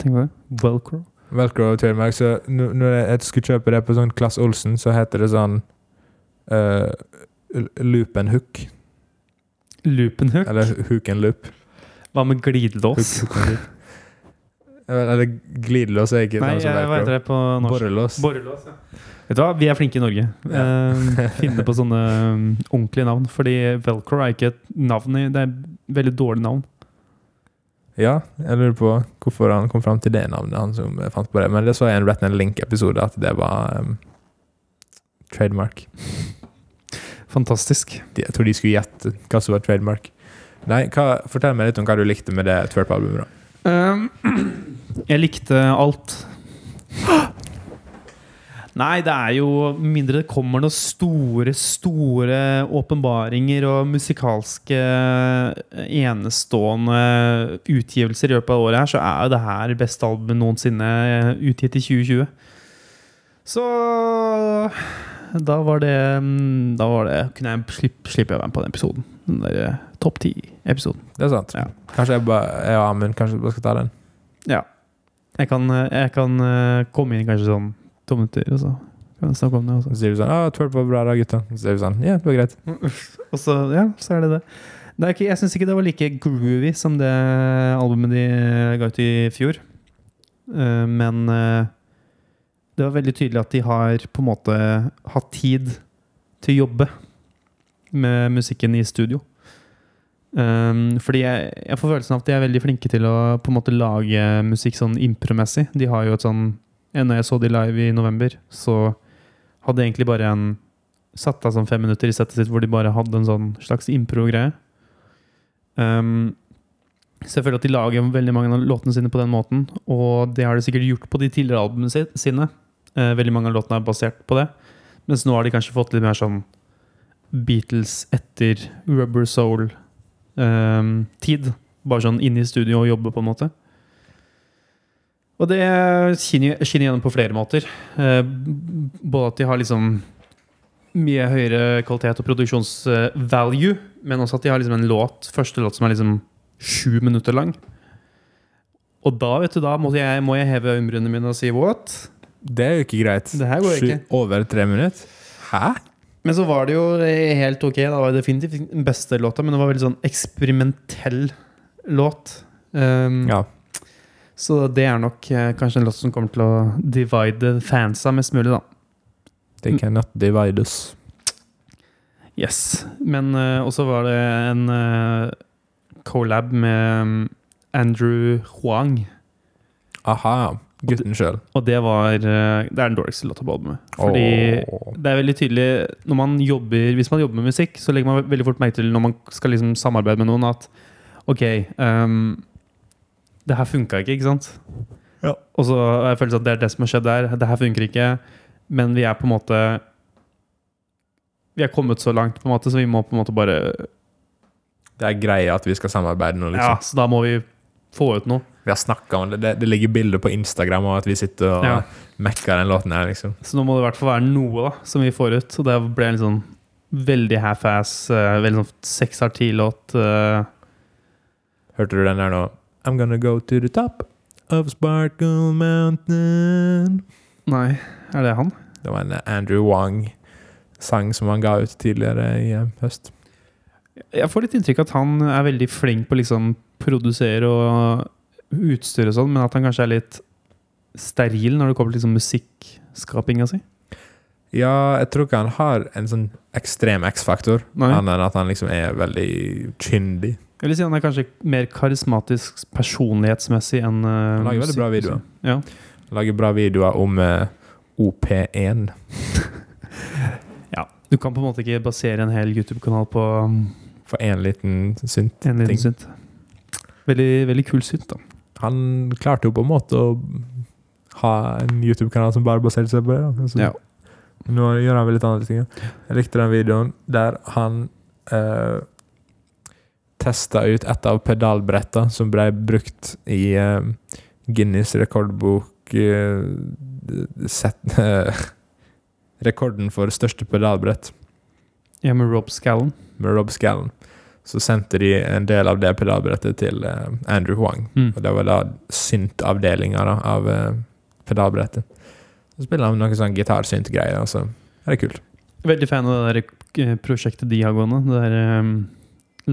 [SPEAKER 1] Tenk på det. Velcro.
[SPEAKER 2] Velcro er trademark. Så nå- når jeg skulle kjøpe det på sånn Klass Olsen, så heter det sånn eh, Loop and hook.
[SPEAKER 1] Loopenhook.
[SPEAKER 2] Eller hook and loop.
[SPEAKER 1] Hva med glidelås?
[SPEAKER 2] Hook, hook and loop. Eller glidelås er ikke
[SPEAKER 1] Nei,
[SPEAKER 2] samme som
[SPEAKER 1] eh, hva
[SPEAKER 2] velcro.
[SPEAKER 1] heter det på norsk?
[SPEAKER 2] Borrelås.
[SPEAKER 1] Borrelås, ja. Vet du hva, vi er flinke i Norge. Eh, finne på sånne um, ordentlige navn. Fordi velcro er ikke et navn i Det er et veldig dårlig navn.
[SPEAKER 2] Ja, jeg lurer på hvorfor han kom fram til det navnet, han som eh, fant på det. Men det så jeg i en Ratman Link-episode at det var em, trademark.
[SPEAKER 1] Fantastisk.
[SPEAKER 2] De- Jeg tror de skulle gjette hva som var trademark. Nei, hva, fortell meg litt om hva du likte med det twerp-albumet. da.
[SPEAKER 1] Um, jeg likte alt. Nei, det er jo med mindre det kommer noen store, store åpenbaringer og musikalske eh, enestående utgivelser i løpet av året her, så er jo det her beste albumet noensinne eh, utgitt i 2020. Så eh, da var det mm, Da var det, kunne jeg slippe, slippe å være med på den episoden. Den der eh, topp ti-episoden.
[SPEAKER 2] Det er sant.
[SPEAKER 1] Ja.
[SPEAKER 2] Kanskje jeg, ba, jeg og Amund kanskje bare skal ta den?
[SPEAKER 1] Jeg kan, jeg kan eh, komme inn kanskje sånn to minutter, og så kan jeg snakke om det.
[SPEAKER 2] Så sier vi sånn 'Å, twerp var bra da, gutta'. Så sier vi sånn 'Ja, det var greit'.
[SPEAKER 1] Og så, og så ja, så er det det. det er ikke, jeg syns ikke det var like groovy som det albumet de ga ut i fjor. Eh, men eh, det var veldig tydelig at de har på en måte hatt tid til å jobbe med musikken i studio. Um, fordi jeg, jeg får følelsen av at de er veldig flinke til å på en måte lage musikk sånn impromessig. De har jo et sånn eh, Når jeg så de live i november, så hadde jeg egentlig bare en Satt av sånn fem minutter i settet sitt hvor de bare hadde en sånn slags impro-greie. Um, så jeg føler at de lager veldig mange av låtene sine på den måten. Og det har de sikkert gjort på de tidligere albumene si- sine. Eh, veldig mange av låtene er basert på det. Mens nå har de kanskje fått litt mer sånn Beatles etter Rubber Soul ehm, tid. Bare sånn inn i studio og jobbe, på en måte. Og det skinner skinner gjennom på flere måter. Eh, b- både at de har liksom mye høyere kvalitet og produksjonsvalue, men også at de har liksom en låt, første låt som er liksom sju minutter lang. Og da, vet du, da må jeg, må jeg heve øyenbrynene mine og si what?
[SPEAKER 2] Det er jo ikke greit.
[SPEAKER 1] Det her går
[SPEAKER 2] Sju-
[SPEAKER 1] ikke.
[SPEAKER 2] Over tre minutter? Hæ?
[SPEAKER 1] Men så var det jo helt ok. Da var det definitivt den beste låta, men det var veldig sånn eksperimentell låt. Um,
[SPEAKER 2] Ja.
[SPEAKER 1] Så det er nok eh, kanskje en låt som kommer til å divide fansa mest mulig, da.
[SPEAKER 2] They cannot divide us.
[SPEAKER 1] Yes. Men eh, også var det en eh, collab med mm, Andrew Huang.
[SPEAKER 2] Aha. Gutten sjøl.
[SPEAKER 1] Og det var eh, Det er den dårligste låta på albumet. Fordi det er veldig tydelig når man jobber, Hvis man jobber med musikk, så legger man veldig fort merke til når man skal liksom samarbeide med noen, at OK ehm, Det her funka ikke, ikke sant?
[SPEAKER 2] Ja.
[SPEAKER 1] Og så har jeg følelsen at det er det som har skjedd der. Det her funker ikke. Men vi er på en måte Vi er kommet så langt, på en måte, så vi må på en måte bare
[SPEAKER 2] Det er greia at vi skal samarbeide nå,
[SPEAKER 1] Ja,
[SPEAKER 2] liksom.
[SPEAKER 1] så da må vi få ut noe.
[SPEAKER 2] Vi har snakka om det. det. Det ligger bilder på Instagram av at vi sitter og
[SPEAKER 1] Ja.
[SPEAKER 2] mekker den låten her, liksom.
[SPEAKER 1] Så nå må det i hvert fall være noe da, som vi får ut. Og det ble en sånn veldig half-ass, eh, veldig sånn sexarti-låt. eh.
[SPEAKER 2] Hørte du den der nå? I'm gonna go to the top of Sparkle Mountain.
[SPEAKER 1] nei, er det han?
[SPEAKER 2] Det var en Andrew Wang-sang som han ga ut tidligere i eh, høst.
[SPEAKER 1] Jeg får litt inntrykk av at han er veldig flink på å liksom produsere og utstyr og sånn, men at han kanskje er litt steril når det kommer til liksom musikkskapinga si.
[SPEAKER 2] Ja, jeg tror ikke han har en sånn ekstrem X-faktor,
[SPEAKER 1] Nei.
[SPEAKER 2] annet enn at han liksom er veldig kyndig.
[SPEAKER 1] Jeg vil si han er kanskje mer karismatisk personlighetsmessig enn eh,
[SPEAKER 2] Han lager veldig bra
[SPEAKER 1] musikk-
[SPEAKER 2] videoer.
[SPEAKER 1] Ja.
[SPEAKER 2] Lager bra videoer om eh, OP1.
[SPEAKER 1] ja. Du kan på en måte ikke basere en hel YouTube-kanal på um,
[SPEAKER 2] For én liten synt.
[SPEAKER 1] en
[SPEAKER 2] Ting.
[SPEAKER 1] liten synt. Veldig, veldig kul synt, da.
[SPEAKER 2] Han klarte jo på en måte å ha en YouTube-kanal som bare baserte seg på det. da. Altså,
[SPEAKER 1] Ja.
[SPEAKER 2] Nå gjør han vel litt andre ting. da. Jeg likte den videoen der han uh, testa ut et av pedalbretta som ble brukt i eh, Guinness rekordbok eh, set, eh, Rekorden for største pedalbrett
[SPEAKER 1] Ja, med Rob Scallon.
[SPEAKER 2] med Rob Scallon. Så sendte de en del av det pedalbrettet til eh, Andrew Huang. Og det var da synt-avdelinga da, av eh, pedalbrettet. Så spiller han noe sånn gitarsynt-greier, og så er det kult.
[SPEAKER 1] Veldig fan av det der eh, prosjektet de har gående. Det der um,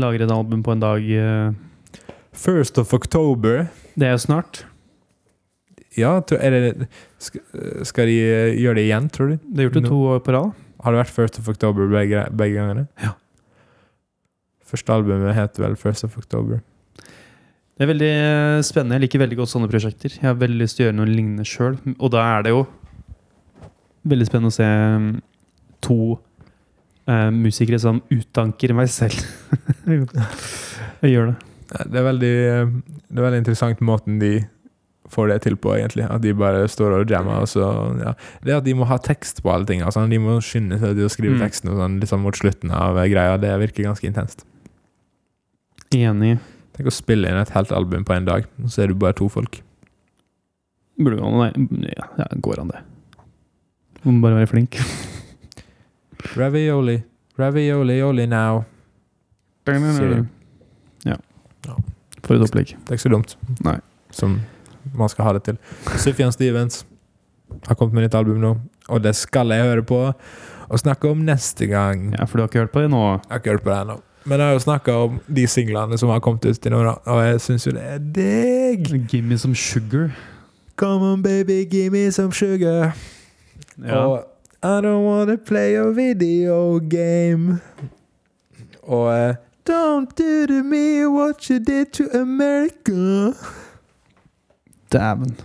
[SPEAKER 1] lager et album på en dag. eh,
[SPEAKER 2] First of October
[SPEAKER 1] Det er jo snart.
[SPEAKER 2] Ja, tror- er det sk- Skal de eh, gjøre det igjen, tror du?
[SPEAKER 1] Det har gjort det
[SPEAKER 2] Nå.
[SPEAKER 1] to år på rad.
[SPEAKER 2] Har det vært First of October begge, begge gangene?
[SPEAKER 1] Ja.
[SPEAKER 2] Første albumet heter vel First of October.
[SPEAKER 1] Det er veldig eh, spennende. Jeg liker veldig godt sånne prosjekter. Jeg har veldig lyst til å gjøre noe lignende sjøl. Og da er det jo veldig spennende å se mm, to eh, musikere som utdanker meg selv. Jeg gjør det.
[SPEAKER 2] Nei, Det er veldig eh, Det er veldig interessant måten de får det til på, egentlig. At de bare står og jammer. Og så, ja. Det at de må ha tekst på alle ting. Altså, de må skynde seg til å skrive
[SPEAKER 1] Mm.
[SPEAKER 2] teksten og sånn, litt sånn mot slutten av eh, greia. Det virker ganske intenst.
[SPEAKER 1] Enig.
[SPEAKER 2] Tenk å spille inn et helt album på én dag, og så er du bare to folk.
[SPEAKER 1] Burde gå an. Nei, ja, ja, går an, det. Må bare være flink.
[SPEAKER 2] Ravioli, ravioli, oli now. Sier de.
[SPEAKER 1] Ja.
[SPEAKER 2] Ja.
[SPEAKER 1] For et opplegg.
[SPEAKER 2] Det er ikke så dumt.
[SPEAKER 1] Nei.
[SPEAKER 2] Som man skal ha det til. Sufjan Stevens har kommet med nytt album nå, og det skal jeg høre på og snakke om neste gang.
[SPEAKER 1] Ja, For du har ikke hørt på det nå?
[SPEAKER 2] Jeg har ikke hørt på det ennå. Men jeg har jo snakka om de singlene som har kommet ut til nå, da. Og jeg syns jo det er digg!
[SPEAKER 1] Gimme some sugar.
[SPEAKER 2] Come on, baby, give me some sugar.
[SPEAKER 1] Ja.
[SPEAKER 2] Og I don't wanna play a video game. Og eh, Don't do to me what you did to America.
[SPEAKER 1] Dæven.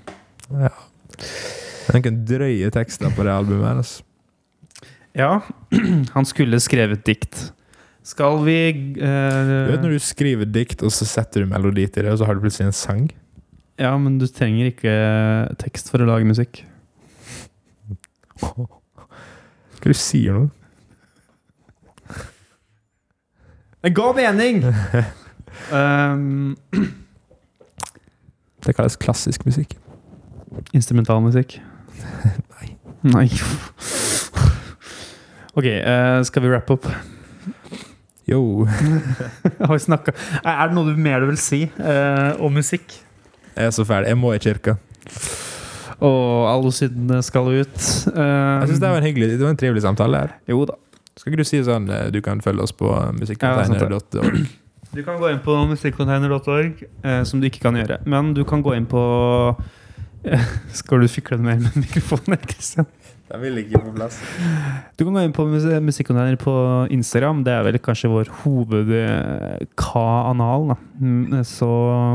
[SPEAKER 2] Noen drøye tekster på det albumet her, altså.
[SPEAKER 1] Ja, han skulle skrevet dikt. Skal vi eh,
[SPEAKER 2] Du vet når du skriver dikt, og så setter du melodi til det, og så har du plutselig en sang?
[SPEAKER 1] Ja, men du trenger ikke eh, tekst for å lage musikk.
[SPEAKER 2] Hva er det du sier nå?
[SPEAKER 1] Det ga mening! um,
[SPEAKER 2] Det kalles klassisk musikk.
[SPEAKER 1] instrumentalmusikk. Nei. ok, eh, skal vi wrap up?
[SPEAKER 2] Yo.
[SPEAKER 1] Har vi snakka Er det noe du mer du vil si eh, om musikk?
[SPEAKER 2] Jeg er så ferdig. Jeg må i kirka.
[SPEAKER 1] Og alle syndene skal ut. Um,
[SPEAKER 2] Jeg synes det var en hyggelig Det var en trivelig samtale her.
[SPEAKER 1] Jo da.
[SPEAKER 2] Skal ikke du si sånn eh, Du kan følge oss på
[SPEAKER 1] Ja,
[SPEAKER 2] musikkonteiner.org?
[SPEAKER 1] Du kan gå inn på musikkcontainer.org, eh, som du ikke kan gjøre. Men du kan gå inn på eh, Skal du fikle det mer med mikrofonen? Christian?
[SPEAKER 2] Den vil ikke på plass.
[SPEAKER 1] Du kan gå inn på mus- musikkcontainer på Instagram. Det er vel kanskje vår hoved-ka-anal. da. Mm, Så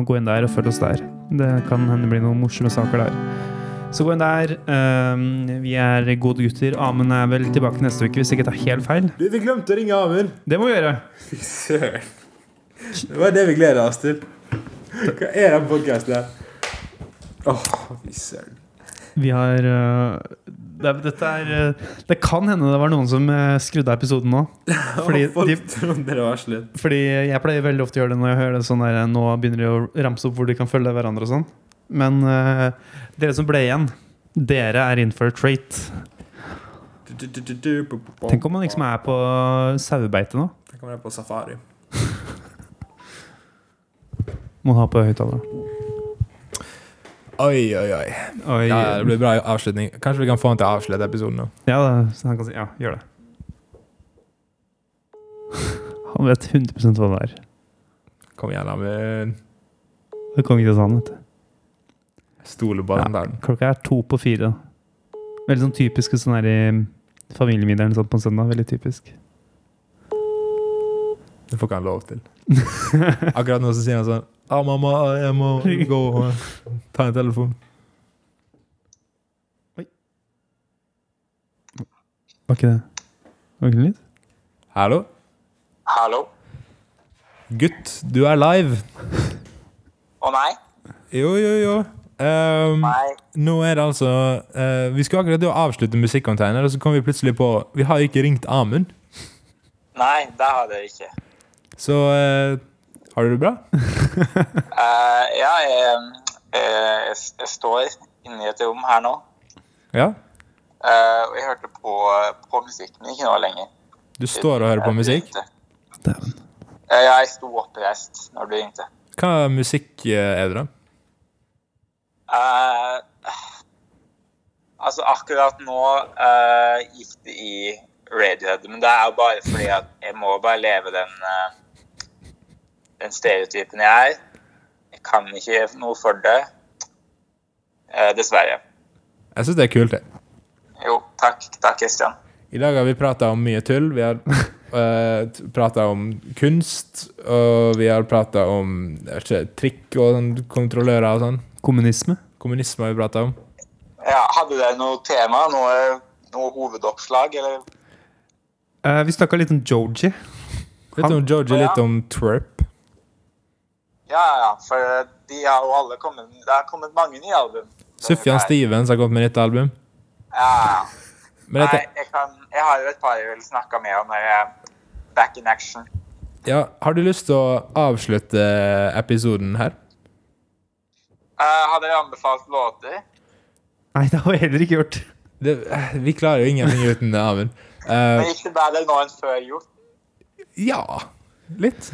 [SPEAKER 1] gå inn der og følg oss der. Det kan hende bli noen morsomme saker der. Så gå inn der. Eh, Vi er gode gutter. Amund er vel tilbake neste uke, hvis jeg ikke tar helt feil.
[SPEAKER 2] Du, vi glemte å ringe Amund!
[SPEAKER 1] Det må vi gjøre.
[SPEAKER 2] Fy søren. Det var det vi gleda oss til. Hva er den podkasten her? Åh, fy søren.
[SPEAKER 1] Vi har øh, det, er- dette er, øh, det kan hende det var noen som øh, skrudde av episoden nå. Fordi, de,
[SPEAKER 2] trodde det var slutt.
[SPEAKER 1] fordi jeg pleier veldig ofte å gjøre det når jeg hører det sånn der Nå begynner de å ramse opp hvor de kan følge hverandre og sånn. Men øh, dere som ble igjen, dere er in for a treat. Tenk om man liksom er på sauebeite nå.
[SPEAKER 2] Tenk om det er på safari.
[SPEAKER 1] Må ha på høyttaleren.
[SPEAKER 2] Oi, oi, oi.
[SPEAKER 1] Oi.
[SPEAKER 2] Ja, det blir bra avslutning. Kanskje vi kan få han til å avslutte episoden nå?
[SPEAKER 1] Ja, det- så han kan si Ja, gjør det. Han vet 100 hva det er.
[SPEAKER 2] Kom igjen, Amund.
[SPEAKER 1] Det er kongen til sand, vet du.
[SPEAKER 2] Stoler på den der.
[SPEAKER 1] Klokka er to på fire. Veldig sånn typisk sånn her i familiemiddagen sånn på en søndag. Veldig typisk.
[SPEAKER 2] Det får ikke han lov til. Akkurat nå så sier han sånn Ja, mamma, jeg må gå og ta en telefon.
[SPEAKER 1] Var ikke det Var ikke det litt?
[SPEAKER 2] Hallo?
[SPEAKER 5] Hallo?
[SPEAKER 2] Gutt, du er live.
[SPEAKER 5] Å nei?
[SPEAKER 2] Jo, jo, jo. ehm,
[SPEAKER 4] Nei.
[SPEAKER 2] nå er det altså eh, Vi skulle akkurat til å avslutte musikkonteiner, og så kom vi plutselig på Vi har ikke ringt Amund.
[SPEAKER 4] Nei, det har jeg ikke.
[SPEAKER 2] Så eh, har du det bra?
[SPEAKER 4] Eh, ja, jeg, eh, jeg, jeg står inne i et rom her nå,
[SPEAKER 2] Ja?
[SPEAKER 4] eh, og jeg hørte på, på musikk, men ikke nå lenger.
[SPEAKER 2] Du står og hører på
[SPEAKER 4] Jeg
[SPEAKER 2] musikk?
[SPEAKER 4] ringte.
[SPEAKER 1] Dæven.
[SPEAKER 4] Eh, ja, jeg sto oppreist når du ringte.
[SPEAKER 2] Hva musikk eh, er det, da?
[SPEAKER 4] Eh, altså, akkurat nå eh, gikk det i Radiohead, men det er jo bare fordi at jeg må bare leve den, eh, den stereotypen jeg er. Jeg kan ikke gjøre noe for det. Eh, dessverre.
[SPEAKER 2] Jeg syns det er kult, det.
[SPEAKER 4] Jo, takk. Takk, Kristian.
[SPEAKER 2] I dag har vi prata om mye tull. Vi har uh, prata om kunst, og vi har prata om jeg vet ikke, trikk og sånn, kontrollører og sånn.
[SPEAKER 1] Kommunisme.
[SPEAKER 2] Kommunisme har vi prata om.
[SPEAKER 4] Ja, hadde dere noe tema? Noe, noe hovedoppslag, eller?
[SPEAKER 1] Eh, vi snakka litt om Georgie.
[SPEAKER 2] Litt om Georgie, litt om twerp.
[SPEAKER 4] Ja, ja, ja, for de har jo alle kommet Det har kommet mange nye album.
[SPEAKER 2] Sufjan Stevens har kommet med nytt album.
[SPEAKER 4] Ja, ja.
[SPEAKER 2] Men
[SPEAKER 4] Nei,
[SPEAKER 2] dette,
[SPEAKER 4] jeg, kan, jeg har jo et par jeg vil snakke med om når jeg er back in action.
[SPEAKER 2] ja, har du lyst til å avslutte episoden her?
[SPEAKER 4] Eh, har dere anbefalt låter?
[SPEAKER 1] Nei, det har vi heller ikke gjort.
[SPEAKER 2] Det, vi klarer jo ingenting uten det, Amund.
[SPEAKER 4] Men
[SPEAKER 2] Eh,
[SPEAKER 4] gikk det bedre nå enn før gjort?
[SPEAKER 2] ja Litt.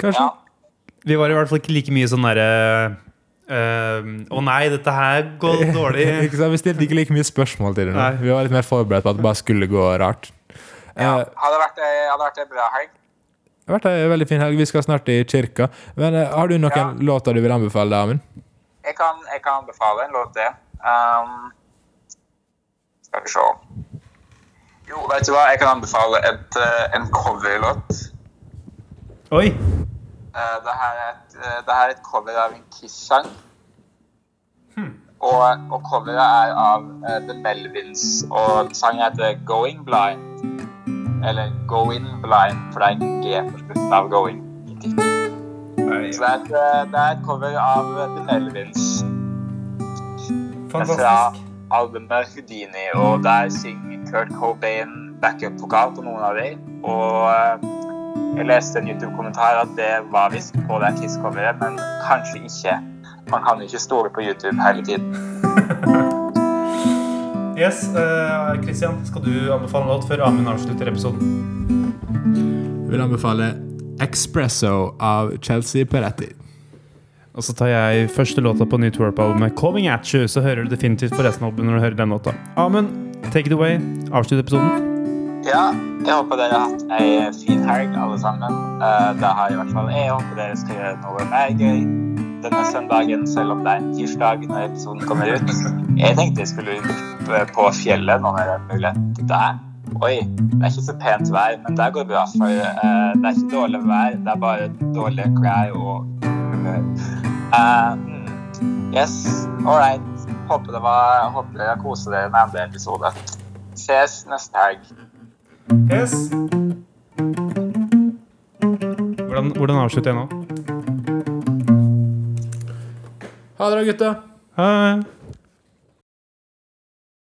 [SPEAKER 2] Kanskje.
[SPEAKER 4] Ja.
[SPEAKER 1] Vi var i hvert fall ikke like mye sånn derre eh, Å nei, dette her går dårlig.
[SPEAKER 2] Ikke sant? Vi stilte ikke like mye spørsmål til det nå.
[SPEAKER 1] Nei.
[SPEAKER 2] Vi var litt mer forberedt på at det bare skulle gå rart.
[SPEAKER 4] ja.
[SPEAKER 2] Eh,
[SPEAKER 4] Hadde det vært, ei- hadde vært en bra helg?
[SPEAKER 2] Det har vært ei veldig fin helg. Vi skal snart i kirka. Men eh, har du noen
[SPEAKER 4] Ja.
[SPEAKER 2] låter du vil anbefale, deg, Amund?
[SPEAKER 4] Jeg kan, jeg kan anbefale en låt, det. Ehm, skal vi se Jo, vet du hva? Jeg kan anbefale et, eh, en coverlåt.
[SPEAKER 1] Oi.
[SPEAKER 4] Eh, det, her er et, eh, det her er et cover av en Kiss-sang. Og, og coveret er av eh, The Melvins, og sangen heter Going Blind. Eller Go In Blind, for det er en G på slutten av Going. Så det er, et, eh, det er et cover av eh, The Melvins. Det er fra
[SPEAKER 1] Fantastisk.
[SPEAKER 4] albumet Houdini, og der synger Kurt Cobain backup-vokal på noen av dem. Og eh, jeg leste en YouTube-kommentar at det var visst på det Kiss-coveret, men kanskje ikke. Man kan jo ikke stole på YouTube hele tiden.
[SPEAKER 1] Yes, Kristian, skal du anbefale en låt før Amund avslutter episoden?
[SPEAKER 2] Jeg vil anbefale 'Expresso' av Chelsea Peretti.
[SPEAKER 1] Og så tar jeg første låta på nytt Warp-albumet, 'Coming At You', så hører du definitivt på resten av albumet når du hører den låta. Amund, take it away. Avslutt episoden.
[SPEAKER 4] Ja, jeg håper dere har hatt ei fin helg, alle sammen. Eh, det har i hvert fall jeg. Jeg håper dere skal gjøre noe mer gøy denne søndagen, selv om det er en tirsdag når episoden kommer ut. Jeg tenkte jeg skulle ut eh, på fjellet nå når det er mulighet der. Oi, det er ikke så pent vær, men det går bra, for eh, det er ikke dårlig vær, det er bare dårlige klær og humør. Eh, mm, yes, all right. Håper, det var, håper dere koser dere med andre episode. Ses neste helg.
[SPEAKER 1] Yes. Hvordan, hvordan avslutter jeg nå?
[SPEAKER 2] Ha det, da, gutta.
[SPEAKER 1] Hei.